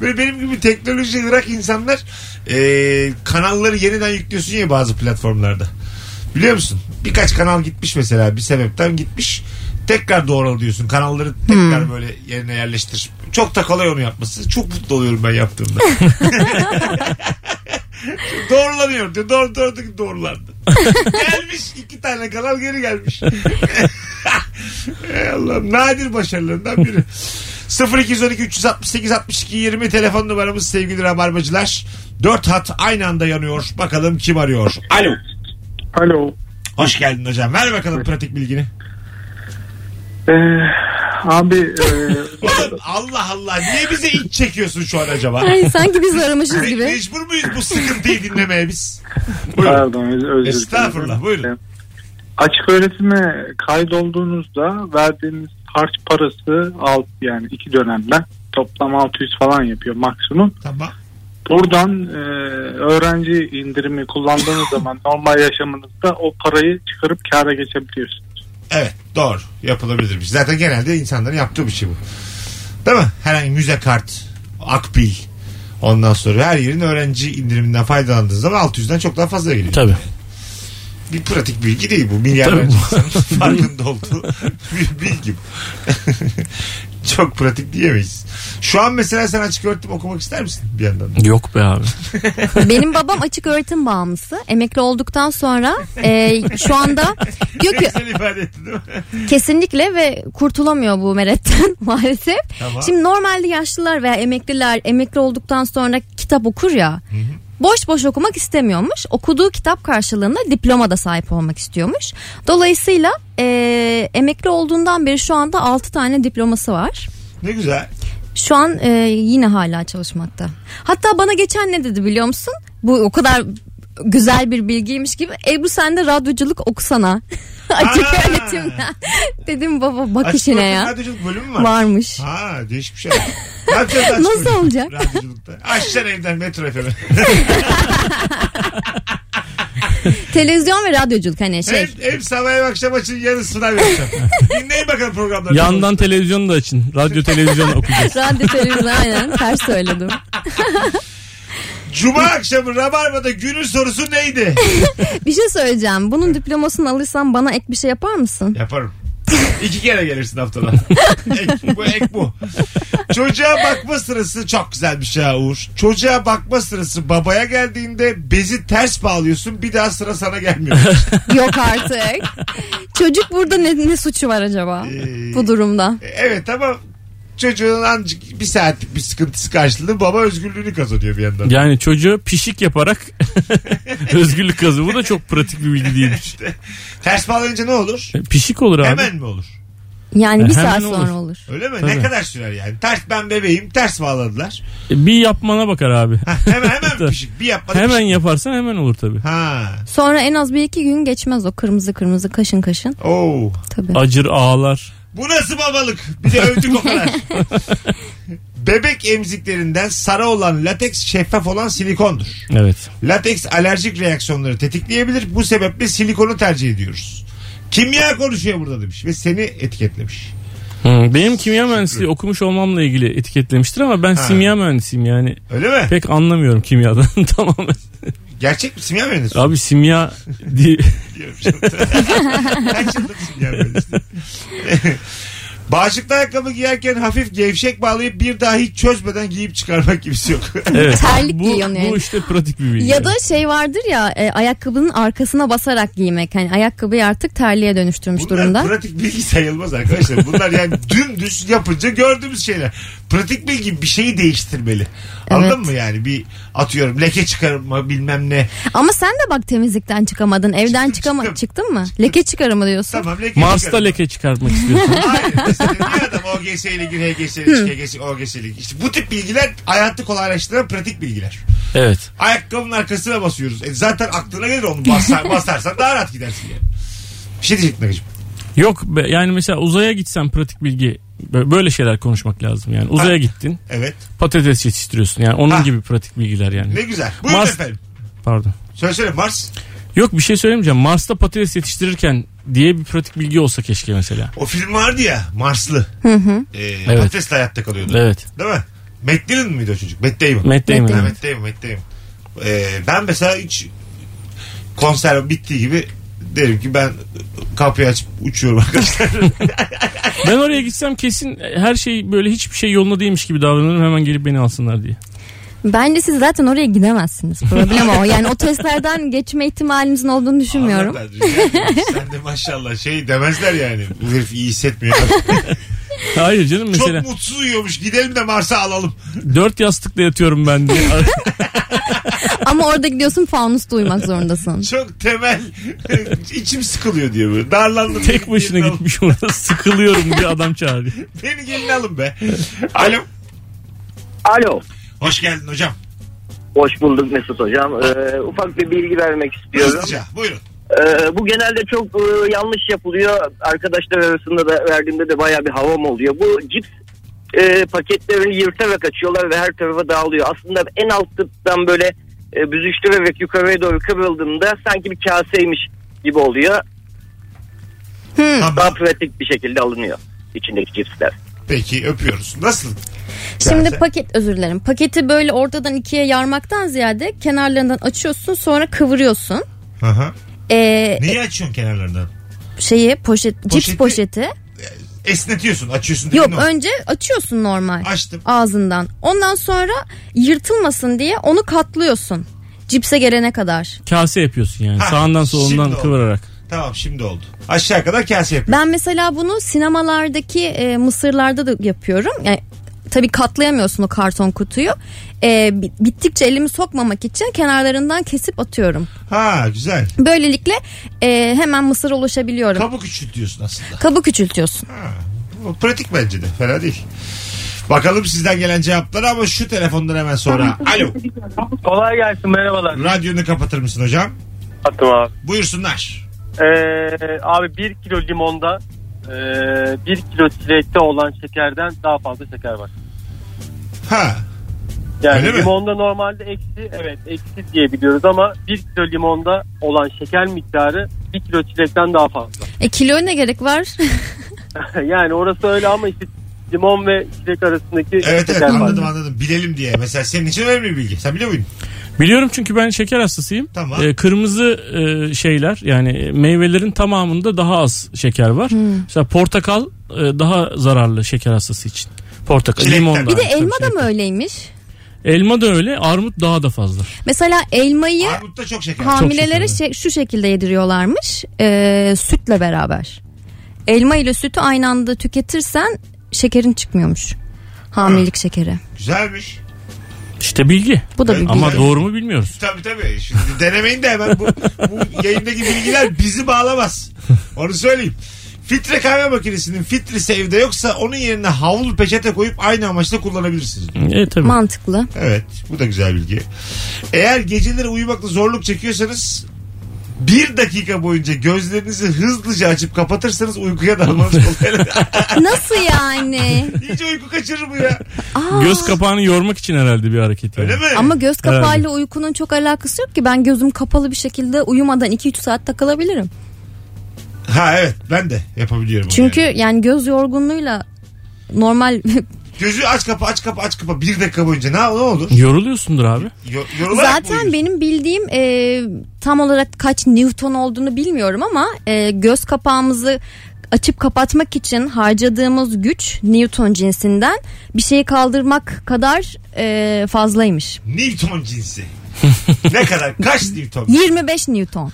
Speaker 2: Böyle benim gibi teknoloji Irak insanlar e, kanalları yeniden yüklüyorsun ya bazı platformlarda. Biliyor musun? Birkaç kanal gitmiş mesela bir sebepten gitmiş. Tekrar doğralı diyorsun. Kanalları tekrar
Speaker 4: Hmm.
Speaker 2: böyle yerine yerleştir. Çok da kolay onu yapması. Çok mutlu oluyorum ben yaptığımda. Doğrulanıyor diyor. Doğru doğru doğrulandı. gelmiş iki tane kanal geri gelmiş. Ey Allah'ım nadir başarılarından biri. 0212 368 62 20 telefon numaramız sevgili rabarbacılar. Dört hat aynı anda yanıyor. Bakalım kim arıyor? Alo.
Speaker 9: Alo.
Speaker 2: Hoş geldin hocam. Ver bakalım pratik bilgini.
Speaker 9: Ee, abi e,
Speaker 2: Oğlum Allah Allah niye bize iç çekiyorsun şu an acaba?
Speaker 3: Ay sanki biz aramışız
Speaker 2: Me-
Speaker 3: gibi.
Speaker 2: Mecbur muyuz bu sıkıntıyı dinlemeye biz? Buyurun.
Speaker 9: pardon öz- özür dilerim. E,
Speaker 2: Estağfurullah, buyurun.
Speaker 9: Açık öğretime kaydolduğunuzda verdiğiniz harç parası alt yani iki dönemden toplam 600 falan yapıyor maksimum.
Speaker 2: Tamam.
Speaker 9: Buradan e, öğrenci indirimi kullandığınız zaman normal yaşamınızda o parayı çıkarıp kâra geçebiliyorsunuz.
Speaker 2: Evet doğru yapılabilirmiş. Zaten genelde insanların yaptığı bir şey bu. Değil mi? Herhangi müze kart, akbil ondan sonra her yerin öğrenci indiriminden faydalandığı zaman 600'den çok daha fazla geliyor.
Speaker 4: Tabii.
Speaker 2: Bir pratik bilgi değil bu. Milyarlarca insanın farkında olduğu bir bilgi bu. çok pratik diyemeyiz. Şu an mesela sen açık öğretim okumak ister misin bir yandan?
Speaker 4: Yok be abi.
Speaker 3: Benim babam açık öğretim bağımlısı. Emekli olduktan sonra e, şu anda diyor ki
Speaker 2: Sen ifade ettin değil mi?
Speaker 3: kesinlikle ve kurtulamıyor bu meretten maalesef.
Speaker 2: Tamam.
Speaker 3: Şimdi normalde yaşlılar veya emekliler emekli olduktan sonra kitap okur ya. Boş boş okumak istemiyormuş. Okuduğu kitap karşılığında diploma da sahip olmak istiyormuş. Dolayısıyla e, emekli olduğundan beri şu anda 6 tane diploması var.
Speaker 2: Ne güzel.
Speaker 3: Şu an e, yine hala çalışmakta. Hatta bana geçen ne dedi biliyor musun? Bu o kadar güzel bir bilgiymiş gibi. Ebru sen de radyoculuk okusana. Açık
Speaker 2: Aa!
Speaker 3: öğretimden. Dedim baba bak
Speaker 2: Açık
Speaker 3: işine
Speaker 2: öğretim
Speaker 3: ya.
Speaker 2: radyoculuk bölümü mü var?
Speaker 3: Varmış.
Speaker 2: Ha değişik bir şey. Ne yapacağız aşk
Speaker 3: Nasıl
Speaker 2: oyunu?
Speaker 3: olacak?
Speaker 2: Radyoculukta. Açacaksın evden metro efemi.
Speaker 3: Televizyon ve radyoculuk hani şey.
Speaker 2: Hem, hem sabah hem akşam açın yarısına vereceğim. Dinleyin bakalım programları.
Speaker 4: Yandan televizyonu da açın. Radyo televizyon okuyacağız.
Speaker 3: Radyo televizyon aynen ters söyledim.
Speaker 2: Cuma akşamı Rabarba'da günün sorusu neydi?
Speaker 3: Bir şey söyleyeceğim. Bunun diplomasını alırsan bana ek bir şey yapar mısın?
Speaker 2: Yaparım. İki kere gelirsin haftada. ek, bu ek bu. Çocuğa bakma sırası çok güzel bir şey ha Uğur. Çocuğa bakma sırası babaya geldiğinde bezi ters bağlıyorsun bir daha sıra sana gelmiyor.
Speaker 3: Yok artık. Çocuk burada ne, ne suçu var acaba
Speaker 2: Ee,
Speaker 3: bu durumda?
Speaker 2: evet ama çocuğun ancak bir saatlik bir sıkıntısı karşılığında baba özgürlüğünü kazanıyor bir yandan.
Speaker 4: Yani çocuğu pişik yaparak özgürlük kazı. Bu da çok pratik bir bilgi değilmiş.
Speaker 2: Ters bağlanınca ne olur?
Speaker 4: Pişik olur abi.
Speaker 2: Hemen mi olur?
Speaker 3: Yani bir
Speaker 4: Hemen
Speaker 3: saat
Speaker 4: olur.
Speaker 3: sonra olur.
Speaker 2: Öyle mi? Ne
Speaker 4: Tabii.
Speaker 2: kadar sürer yani? Ters ben bebeğim ters bağladılar.
Speaker 4: E, Bir yapmana bakar abi.
Speaker 2: Ha, hemen hemen mi
Speaker 4: Tabii.
Speaker 2: pişik. Bir yapmadım.
Speaker 4: hemen
Speaker 2: pişik.
Speaker 4: yaparsan hemen olur tabii.
Speaker 2: Ha.
Speaker 3: Sonra en az bir iki gün geçmez o kırmızı kırmızı kaşın kaşın.
Speaker 2: Oo.
Speaker 3: Tabii.
Speaker 4: Acır ağlar.
Speaker 2: Bu nasıl babalık? Bir de övdük o kadar. Bebek emziklerinden sarı olan lateks şeffaf olan silikondur.
Speaker 4: Evet.
Speaker 2: Lateks alerjik reaksiyonları tetikleyebilir. Bu sebeple silikonu tercih ediyoruz. Kimya konuşuyor burada demiş ve seni etiketlemiş.
Speaker 4: Hı, Benim kimya mühendisliği okumuş olmamla ilgili etiketlemiştir ama ben simya mühendisiyim yani.
Speaker 2: Öyle mi?
Speaker 4: Pek anlamıyorum kimyadan tamamen.
Speaker 2: Gerçek mi simya mühendisi?
Speaker 4: Abi simya diye
Speaker 2: Diyorum şimdi. Kaç yıllık simya mühendisi? Bağışıklı ayakkabı giyerken hafif gevşek bağlayıp bir daha hiç çözmeden giyip çıkarmak gibisi yok.
Speaker 4: Evet.
Speaker 3: Terlik
Speaker 4: bu,
Speaker 3: giyiyorsun yani.
Speaker 4: Bu işte pratik bir bilgi.
Speaker 3: Ya da şey vardır ya e, ayakkabının arkasına basarak giymek. Hani ayakkabıyı artık terliğe dönüştürmüş
Speaker 2: Bunlar
Speaker 3: durumda.
Speaker 2: pratik bilgi sayılmaz arkadaşlar. Bunlar yani dümdüz yapınca gördüğümüz şeyler. Pratik bilgi bir şeyi değiştirmeli. Anladın
Speaker 3: Evet.
Speaker 2: mı yani? Bir atıyorum leke çıkarma bilmem ne.
Speaker 3: Ama sen de bak temizlikten çıkamadın. Evden
Speaker 2: Çıktım,
Speaker 3: çıkama
Speaker 2: çıktım.
Speaker 3: çıktın mı? Leke çıkarımı diyorsun.
Speaker 2: Tamam leke
Speaker 4: Mars'ta
Speaker 2: çıkarma.
Speaker 4: leke çıkartmak istiyorsun.
Speaker 2: Hayır. Mesela bir adam OGS ile gir, HGS ile çık, HGS, OGS ile gir. İşte bu tip bilgiler hayatı kolaylaştıran pratik bilgiler.
Speaker 4: evet.
Speaker 2: Ayakkabının arkasına basıyoruz. E zaten aklına gelir onu basar, basarsan daha rahat gidersin yani. Bir şey diyecektim Nakıcığım.
Speaker 4: Yok be, yani mesela uzaya gitsen pratik bilgi bö- böyle şeyler konuşmak lazım yani.
Speaker 2: Ha.
Speaker 4: Uzaya gittin.
Speaker 2: Evet.
Speaker 4: Patates yetiştiriyorsun yani. Onun
Speaker 2: Ha.
Speaker 4: gibi pratik bilgiler yani.
Speaker 2: Ne güzel. Buyurun
Speaker 4: Mars-
Speaker 2: efendim.
Speaker 4: Pardon.
Speaker 2: Söylesene Mars.
Speaker 4: Yok bir şey söylemeyeceğim. Mars'ta patates yetiştirirken diye bir pratik bilgi olsa keşke mesela.
Speaker 2: O film vardı ya Marslı. Ee, Patatesle hayatta kalıyordu.
Speaker 4: Evet.
Speaker 2: Değil mi? Matt Dillon muydu o çocuk? Matt Damon.
Speaker 4: Matt Damon.
Speaker 2: Ha,
Speaker 4: evet.
Speaker 2: Matt Damon, Matt Damon. Ee, ben mesela hiç konser bittiği gibi derim ki ben kapıyı açıp uçuyorum arkadaşlar.
Speaker 4: Ben oraya gitsem kesin her şey böyle hiçbir şey yoluna değilmiş gibi davranırım hemen gelip beni alsınlar diye.
Speaker 3: Bence siz zaten oraya gidemezsiniz. Problem o. Yani o testlerden geçme ihtimalinizin olduğunu düşünmüyorum.
Speaker 2: Anlarlar, rica ederim. Sen de maşallah şey demezler yani. Bu herif iyi hissetmiyor.
Speaker 4: Hayır canım mesela
Speaker 2: Çok mutsuz uyuyormuş. Gidelim de Mars'a alalım.
Speaker 4: dört yastıkla yatıyorum ben diye.
Speaker 3: Ama orada gidiyorsun fanusta uyumak zorundasın.
Speaker 2: Çok temel. içim sıkılıyor diyor böyle. Darlandım.
Speaker 4: Tek başına
Speaker 2: Gelin alın.
Speaker 4: gitmiş orada sıkılıyorum diye adam çağırıyor.
Speaker 2: Beni gelin alın be. Alo.
Speaker 10: Alo.
Speaker 2: Hoş geldin hocam.
Speaker 10: Hoş bulduk Mesut Hocam. Ee, ufak bir bilgi vermek istiyorum.
Speaker 2: Hızlıca buyurun.
Speaker 10: Ee, bu genelde çok e, yanlış yapılıyor. Arkadaşlar arasında da verdiğimde de baya bir havam oluyor. Bu cips e, paketlerini yırtarak açıyorlar ve her tarafa dağılıyor. Aslında en alttan böyle e, büzüştürerek yukarıya doğru kıvrıldığında sanki bir kaseymiş gibi oluyor. Daha
Speaker 2: Tamam.
Speaker 10: pratik bir şekilde alınıyor içindeki cipsler.
Speaker 2: Peki öpüyoruz. Nasıl?
Speaker 3: Şimdi
Speaker 2: Sen-
Speaker 3: paket özür dilerim. Paketi böyle ortadan ikiye yarmaktan ziyade kenarlarından açıyorsun sonra kıvırıyorsun.
Speaker 2: Aha.
Speaker 3: Ee,
Speaker 2: Niye açıyorsun kenarlarından?
Speaker 3: şeyi poşet
Speaker 2: Poşeti-
Speaker 3: cips poşeti.
Speaker 2: Esnetiyorsun, açıyorsun.
Speaker 3: Yok
Speaker 2: dediğin o.
Speaker 3: önce açıyorsun normal.
Speaker 2: Açtım.
Speaker 3: Ağzından. Ondan sonra yırtılmasın diye onu katlıyorsun. Cipse gelene kadar.
Speaker 4: Kase yapıyorsun yani.
Speaker 2: Ha,
Speaker 4: Sağından
Speaker 2: şimdi
Speaker 4: solundan
Speaker 2: oldu.
Speaker 4: kıvırarak.
Speaker 2: Tamam şimdi oldu. Aşağı kadar kase yapıyor.
Speaker 3: Ben mesela bunu sinemalardaki e, mısırlarda da yapıyorum. Yani tabii katlayamıyorsun o karton kutuyu. E, bi- bittikçe elimi sokmamak için kenarlarından kesip atıyorum.
Speaker 2: Ha güzel.
Speaker 3: Böylelikle e, hemen mısır ulaşabiliyorum.
Speaker 2: Kabuk küçültüyorsun aslında.
Speaker 3: Kabı küçültüyorsun.
Speaker 2: Ha, bu pratik bence de. Fena değil. Bakalım sizden gelen cevapları ama şu telefondan hemen sonra. Alo.
Speaker 6: Kolay gelsin merhabalar.
Speaker 2: Radyonu kapatır mısın hocam?
Speaker 6: Attım abi.
Speaker 2: Buyursunlar.
Speaker 6: Ee, abi 1 kilo limonda e, 1 kilo çilekte olan şekerden daha fazla şeker var.
Speaker 2: Ha.
Speaker 6: Yani
Speaker 2: Öyle mi?
Speaker 6: limonda normalde eksi evet eksi diye biliyoruz ama 1 kilo limonda olan şeker miktarı 1 kilo çilekten daha fazla.
Speaker 3: E kiloya ne gerek var?
Speaker 6: yani orası öyle ama işte limon ve çilek arasındaki
Speaker 2: Evet evet
Speaker 6: şeker
Speaker 2: anladım
Speaker 6: farkı.
Speaker 2: anladım. Bilelim diye. Mesela senin için önemli bir bilgi. Sen biliyor muydun?
Speaker 4: Biliyorum çünkü ben şeker hastasıyım.
Speaker 2: Tamam.
Speaker 4: Ee, kırmızı e, şeyler yani meyvelerin tamamında daha az şeker var.
Speaker 3: Hmm.
Speaker 4: Mesela portakal e, daha zararlı şeker hastası için. Portakal,
Speaker 2: Çilekten.
Speaker 4: limon. da
Speaker 3: Bir de
Speaker 2: şey
Speaker 4: aynı, tabii
Speaker 3: elma da
Speaker 4: çilek.
Speaker 3: mı öyleymiş?
Speaker 4: Elma da öyle, armut daha da fazla.
Speaker 3: Mesela elmayı
Speaker 2: Armut'ta çok şeker.
Speaker 3: hamilelere
Speaker 4: şekerli.
Speaker 3: şey- şu şekilde yediriyorlarmış. e, sütle beraber. Elma ile sütü aynı anda tüketirsen şekerin çıkmıyormuş. Hamilelik şekeri.
Speaker 2: Güzelmiş.
Speaker 4: İşte bilgi.
Speaker 3: Bu da bir
Speaker 2: Evet.
Speaker 3: bilgi.
Speaker 4: E, Ama doğru mu bilmiyoruz.
Speaker 2: Tabii tabii. Şimdi denemeyin de hemen bu, bu yayındaki bilgiler bizi bağlamaz. Onu söyleyeyim. Filtre kahve makinesinin filtresi evde yoksa onun yerine havlu peçete koyup aynı amaçla kullanabilirsiniz.
Speaker 4: E tabii.
Speaker 3: Mantıklı.
Speaker 2: Evet bu da güzel bilgi. Eğer geceleri uyumakta zorluk çekiyorsanız bir dakika boyunca gözlerinizi hızlıca açıp kapatırsanız uykuya dalmanız kolay.
Speaker 3: Nasıl yani?
Speaker 2: Hiç uyku kaçırır mı ya?
Speaker 3: Aa.
Speaker 4: Göz kapağını yormak için herhalde bir hareket. yani.
Speaker 2: Öyle mi?
Speaker 3: Ama göz kapağıyla uykunun çok alakası yok ki. Ben gözüm kapalı bir şekilde uyumadan 2-3 saat takılabilirim.
Speaker 2: Ha evet ben de yapabiliyorum. onu
Speaker 3: Çünkü
Speaker 2: yani.
Speaker 3: yani göz yorgunluğuyla normal
Speaker 2: Gözü aç kapa aç kapa aç kapa bir dakika boyunca ne, ne olur?
Speaker 4: Yoruluyorsundur abi.
Speaker 2: Yo- yorularak mı
Speaker 3: zaten
Speaker 2: uyuyorsun?
Speaker 3: benim bildiğim e, tam olarak kaç newton olduğunu bilmiyorum ama e, göz kapağımızı açıp kapatmak için harcadığımız güç newton cinsinden bir şeyi kaldırmak kadar e, fazlaymış.
Speaker 2: Newton cinsi. ne kadar? Kaç Newton?
Speaker 3: 25 newton.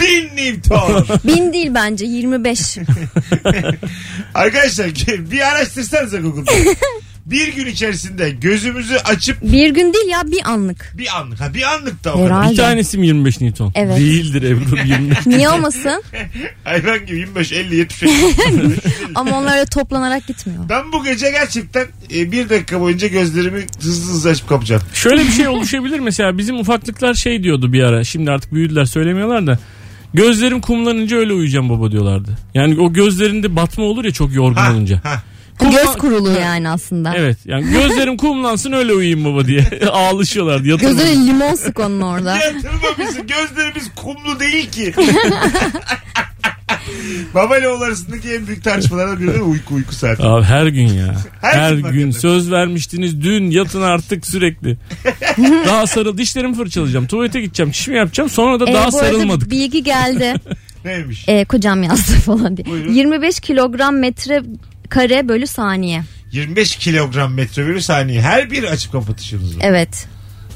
Speaker 2: Bin Newton.
Speaker 3: Bin değil bence 25.
Speaker 2: Arkadaşlar bir araştırsanıza Google'da. Bir gün içerisinde gözümüzü açıp
Speaker 3: bir gün değil ya bir anlık.
Speaker 2: bir anlık. Ha bir anlık da o kadar.
Speaker 3: Herhalde. Aynen.
Speaker 4: Bir tanesi mi 25 Newton?
Speaker 3: Evet.
Speaker 4: Değildir Ebru 25.
Speaker 3: Niye olmasın?
Speaker 2: Hayvan gibi 25, 50, 70. 50.
Speaker 3: Ama onlara toplanarak gitmiyor.
Speaker 2: ben bu gece gerçekten e, bir dakika boyunca gözlerimi hızlı hızlı açıp kapacağım.
Speaker 4: Şöyle bir şey oluşabilir mesela bizim ufaklıklar şey diyordu bir ara. Şimdi artık büyüdüler söylemiyorlar da. Gözlerim kumlanınca öyle uyuyacağım baba diyorlardı. Yani o gözlerinde batma olur ya çok yorgun
Speaker 2: Ha,
Speaker 4: olunca.
Speaker 2: ha.
Speaker 3: Göz kuruluğu yani aslında.
Speaker 4: Evet yani gözlerim kumlansın öyle uyuyayım baba diye ağlışıyorlardı. Yatırmadı.
Speaker 3: Gözüne limon sık onun orada.
Speaker 2: Yatırma bizi. Gözlerimiz kumlu değil ki. Baba ile oğul arasındaki en büyük tartışmalardan biri de uyku uyku saati.
Speaker 4: Abi her gün ya.
Speaker 2: Her
Speaker 4: Her,
Speaker 2: gün
Speaker 4: gün,
Speaker 2: hakikaten.
Speaker 4: söz vermiştiniz dün yatın artık sürekli. daha sarıl dişlerimi fırçalayacağım. Tuvalete gideceğim. Çişimi yapacağım. Sonra da
Speaker 3: Ee,
Speaker 4: daha
Speaker 3: bu arada
Speaker 4: sarılmadık.
Speaker 3: bilgi geldi.
Speaker 2: Neymiş?
Speaker 3: Ee, kocam yazdı falan diye.
Speaker 2: Buyurun.
Speaker 3: 25 kilogram metre kare bölü saniye.
Speaker 2: 25 kilogram metre bölü saniye. Her bir açıp kapatışınız var.
Speaker 3: Evet.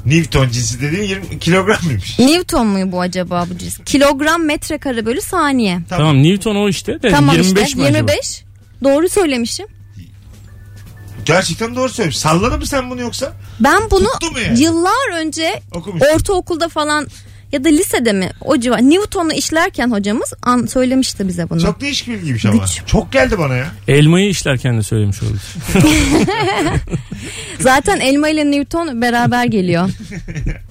Speaker 2: Newton cinsi dediğin 20 kilogram mıymış?
Speaker 3: Newton mu bu acaba bu cisim? Kilogram metre kare bölü saniye.
Speaker 4: Tamam Newton o işte de
Speaker 3: Tamam
Speaker 4: 25
Speaker 3: işte
Speaker 4: mi acaba?
Speaker 3: 25. Doğru söylemişim.
Speaker 2: Gerçekten doğru söylüyorum. Salladın mı sen bunu yoksa?
Speaker 3: Ben bunu
Speaker 2: Tuttu mu yani?
Speaker 3: yıllar önce
Speaker 2: Okumuş.
Speaker 3: ortaokulda falan ya da lisede mi o civar Newton'u işlerken hocamız an söylemişti bize bunu.
Speaker 2: Çok değişik bilgiymiş ama.
Speaker 3: Güç.
Speaker 2: Çok geldi bana ya.
Speaker 4: Elmayı işlerken de söylemiş olabilir.
Speaker 3: Zaten elma ile Newton beraber geliyor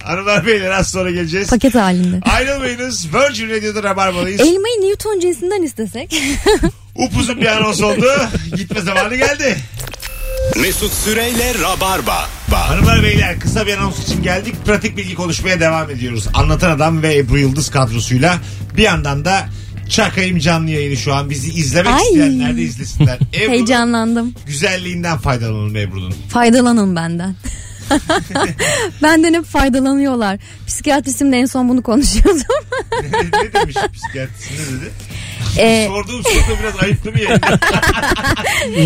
Speaker 2: Hanımlar beyler az sonra geleceğiz.
Speaker 3: paket halinde.
Speaker 2: Ayrılmayınız. Virgin Radio'da Rabarba'dayız.
Speaker 3: Elmayı Newton cinsinden istesek.
Speaker 2: E, Upuzun bir anons oldu. Gitme zamanı geldi.
Speaker 1: Mesut Süreyle Rabarba. Ba-
Speaker 2: Hanımlar beyler kısa bir anons için geldik. Pratik bilgi konuşmaya devam ediyoruz. Anlatan Adam ve Ebru Yıldız kadrosuyla bir yandan da Çakayım canlı yayını şu an. Bizi izlemek
Speaker 3: Ay.
Speaker 2: isteyenler de izlesinler. Ebru'nun
Speaker 3: Heyecanlandım.
Speaker 2: güzelliğinden faydalanalım Ebru'nun.
Speaker 3: Faydalanın benden. benden hep faydalanıyorlar. Psikiyatristimle en son bunu konuşuyordum.
Speaker 2: ne ne demiş psikiyatrist ne dedi?
Speaker 3: Ee,
Speaker 2: Sorduğum soruda biraz ayıplı bir yayın.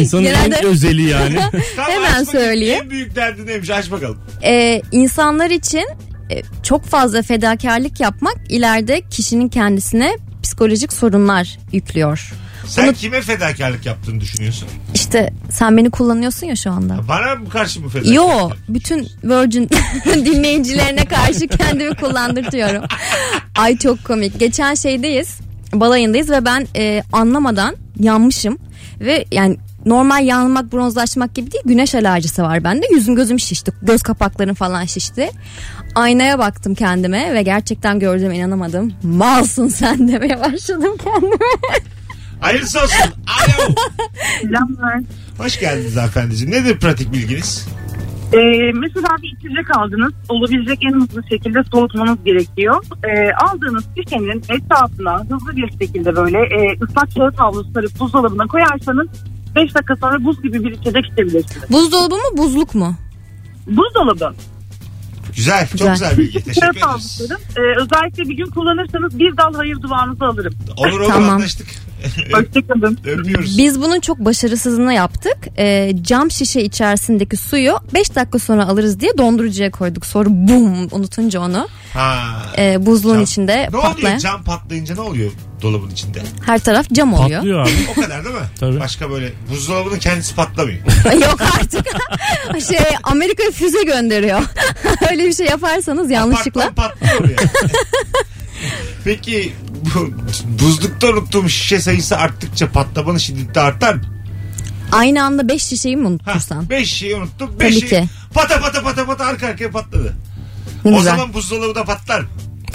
Speaker 4: İnsanın
Speaker 3: Genelde-
Speaker 4: en özeli yani.
Speaker 2: Tam
Speaker 3: Hemen
Speaker 2: açmak için
Speaker 3: söyleyeyim.
Speaker 2: En büyük derdi neymiş aç bakalım.
Speaker 3: e, insanlar için e, çok fazla fedakarlık yapmak ileride kişinin kendisine psikolojik sorunlar yüklüyor.
Speaker 2: Sen
Speaker 3: Bunu-
Speaker 2: kime fedakarlık yaptığını düşünüyorsun?
Speaker 3: İşte sen beni kullanıyorsun ya şu anda.
Speaker 2: Bana mı karşı mı fedakarlık?
Speaker 3: Yo bütün Virgin dinleyicilerine karşı kendimi kullandırtıyorum. Ay çok komik. Geçen şeydeyiz balayındayız ve ben e, anlamadan yanmışım. Ve yani normal yanmak bronzlaşmak gibi değil güneş alerjisi var bende. Yüzüm gözüm şişti. Göz kapaklarım falan şişti. Aynaya baktım kendime ve gerçekten gördüğüme inanamadım. Malsın sen demeye başladım kendime.
Speaker 2: Hayırlısı olsun. Alo. Selamlar. Hoş geldiniz hanımefendiciğim. Nedir pratik bilginiz?
Speaker 11: Ee, mesela bir içecek aldınız. Olabilecek en hızlı şekilde soğutmanız gerekiyor. Ee, aldığınız şişenin etrafına hızlı bir şekilde böyle e, ıslak kağıt havlu sarıp buzdolabına koyarsanız 5 dakika sonra buz gibi bir içecek içebilirsiniz.
Speaker 3: Buzdolabı mı buzluk mu?
Speaker 11: Buzdolabı.
Speaker 2: Güzel. Çok
Speaker 3: Güzel.
Speaker 2: güzel bilgi. Teşekkür
Speaker 11: Kağıt
Speaker 2: ederiz.
Speaker 11: havlusları. Ee, özellikle bir gün kullanırsanız bir dal hayır duanızı alırım.
Speaker 2: Olur olur
Speaker 3: Tamam.
Speaker 2: anlaştık.
Speaker 11: Hoşçakalın.
Speaker 2: Öpüyoruz.
Speaker 3: Biz bunun çok başarısızını yaptık. Ee, cam şişe içerisindeki suyu 5 dakika sonra alırız diye dondurucuya koyduk. Sonra bum unutunca onu
Speaker 2: Ha.
Speaker 3: e, buzluğun
Speaker 2: Cam.
Speaker 3: içinde
Speaker 2: ne
Speaker 3: patlayan
Speaker 2: oluyor? Cam patlayınca ne oluyor dolabın içinde?
Speaker 3: her taraf cam oluyor.
Speaker 4: Patlıyor abi.
Speaker 2: O kadar değil mi?
Speaker 4: Tabii.
Speaker 2: Başka böyle buzdolabının kendisi patlamıyor.
Speaker 3: Yok artık. şey Amerika füze gönderiyor. Öyle bir şey yaparsanız yanlışlıkla.
Speaker 2: Apartman patlıyor ya. Peki bu- buzlukta unuttuğum şişe sayısı arttıkça patlamanın şiddeti artar.
Speaker 3: Aynı anda 5 şişeyi mi unutursan?
Speaker 2: 5 şeyi unuttum.
Speaker 3: Tabii
Speaker 2: 5 şey
Speaker 3: ki.
Speaker 2: pata pata pata pata arka arkaya patladı.
Speaker 3: Ne
Speaker 2: o
Speaker 3: güzel.
Speaker 2: zaman buzdolabı da patlar.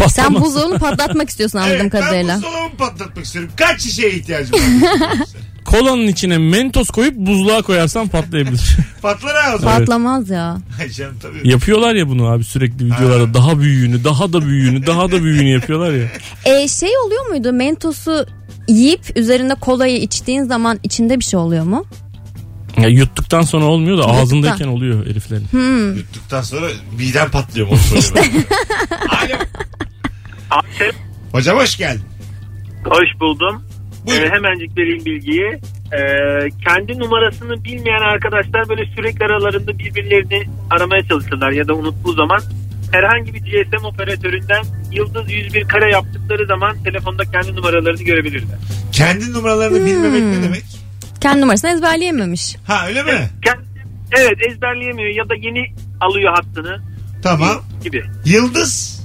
Speaker 3: Sen buzdolabını patlatmak istiyorsun anladığım
Speaker 2: Evet,
Speaker 3: kadarıyla.
Speaker 2: Ben buzdolabı patlatmak istiyorum. Kaç şişeye ihtiyacım var?
Speaker 4: Kolanın içine mentos koyup buzluğa koyarsan patlayabilir.
Speaker 2: Patlar ha o zaman.
Speaker 3: Patlamaz ya.
Speaker 2: Ay canım tabii.
Speaker 4: yapıyorlar ya bunu abi sürekli videolarda daha büyüğünü, daha da büyüğünü, daha da büyüğünü yapıyorlar ya.
Speaker 3: E, şey oluyor muydu? Mentosu yiyip üzerinde kolayı içtiğin zaman içinde bir şey oluyor mu?
Speaker 4: ya yuttuktan sonra olmuyor da ağzındayken oluyor heriflerin.
Speaker 3: Hmm.
Speaker 2: Yuttuktan sonra midem patlıyor. Onu soruyorum. Alo.
Speaker 5: Abi,
Speaker 2: Hocam hoş geldin.
Speaker 5: hoş buldum.
Speaker 2: Buyurun.
Speaker 5: Ee, hemencik vereyim bilgiyi. Ee, kendi numarasını bilmeyen arkadaşlar böyle sürekli aralarında birbirlerini aramaya çalışırlar ya da unuttuğu zaman herhangi bir GSM operatöründen yıldız 101 kare yaptıkları zaman telefonda kendi numaralarını görebilirler.
Speaker 2: Kendi numaralarını bilmemek
Speaker 3: Hmm.
Speaker 2: ne demek?
Speaker 3: Kendi numarasını ezberleyememiş.
Speaker 2: Ha öyle mi?
Speaker 5: Kend- Evet ezberleyemiyor ya da yeni alıyor hattını
Speaker 2: Tamam.
Speaker 5: gibi.
Speaker 2: Yıldız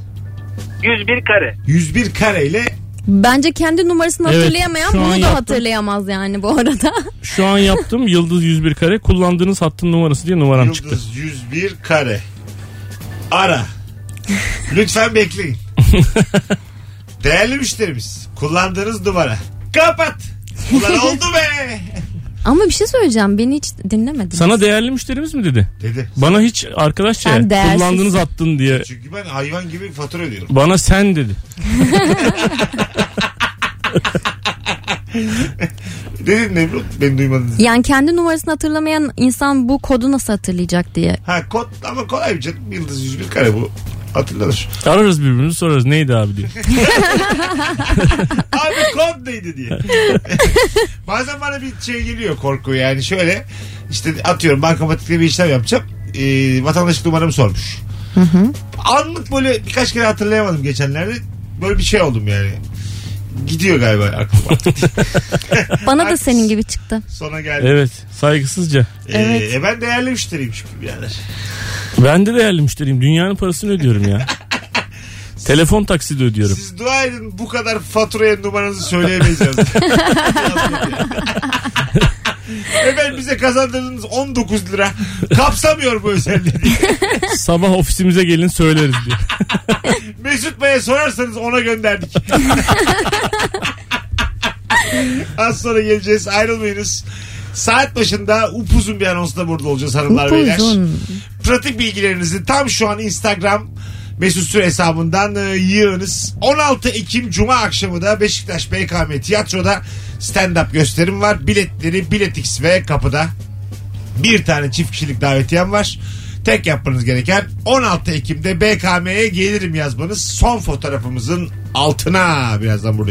Speaker 5: 101 kare.
Speaker 2: 101 kareyle
Speaker 3: Bence kendi numarasını
Speaker 4: Evet,
Speaker 3: hatırlayamayan
Speaker 4: şu an
Speaker 3: bunu da
Speaker 4: yaptım.
Speaker 3: hatırlayamaz yani bu arada.
Speaker 4: Şu an yaptım yıldız 101 kare kullandığınız hattın numarası diye numaram çıktı.
Speaker 2: yıldız 101 kare. Ara. Lütfen bekleyin. Değerli müşterimiz kullandığınız numara. Kapat. Ulan oldu be.
Speaker 3: Ama bir şey söyleyeceğim. Beni hiç dinlemedin.
Speaker 4: Sana değerli müşterimiz mi dedi?
Speaker 2: Dedi.
Speaker 4: Bana hiç arkadaşça
Speaker 3: Sen değersizsin.
Speaker 4: kullandığınız hattın diye
Speaker 2: Çünkü ben hayvan gibi fatura ödüyorum.
Speaker 4: bana sen dedi.
Speaker 2: Dedim Nemrut beni duymadınız.
Speaker 3: Yani kendi numarasını hatırlamayan insan bu kodu nasıl hatırlayacak diye.
Speaker 2: Ha kod ama kolay bir canım. Yıldız 101 kare bu. Hatırlanır.
Speaker 4: Ararız birbirimizi sorarız neydi abi diye.
Speaker 2: Abi kod neydi diye. Bazen bana bir şey geliyor korku yani şöyle işte atıyorum bankamatikte bir işlem yapacağım. Ee, vatandaşlık numaramı sormuş. Anlık böyle birkaç kere hatırlayamadım geçenlerde. Böyle bir şey oldum yani. Gidiyor galiba aklıma.
Speaker 3: Bana da
Speaker 2: Haklısın.
Speaker 3: senin gibi çıktı.
Speaker 2: Sona geldi.
Speaker 4: Evet saygısızca.
Speaker 2: Ee, e ben değerli müşteriymişim birader.
Speaker 4: Ben de değerli müşteriyim dünyanın parasını ödüyorum ya. Telefon taksidi ödüyorum.
Speaker 2: Siz dua edin bu kadar faturaya numaranızı söyleyemeyiz yazdı. Efendim bize kazandırdığınız 19 lira kapsamıyor bu özelliği. diye.
Speaker 4: Sabah ofisimize gelin söyleriz diye.
Speaker 2: Mesut Bey'e sorarsanız ona gönderdik. Az sonra geleceğiz ayrılmayınız. Saat başında upuzun bir anonsla burada olacağız hanımlar beyler.
Speaker 3: Uzun.
Speaker 2: Pratik bilgilerinizi tam şu an Instagram Mesut Süre hesabından e, yığınız. 16 Ekim Cuma akşamı da Beşiktaş BKM Tiyatro'da stand-up gösterim var. Biletleri Biletix ve kapıda bir tane çift kişilik davetiyem var. Tek yapmanız gereken 16 Ekim'de BKM'ye gelirim yazmanız. Son fotoğrafımızın altına birazdan buradayız.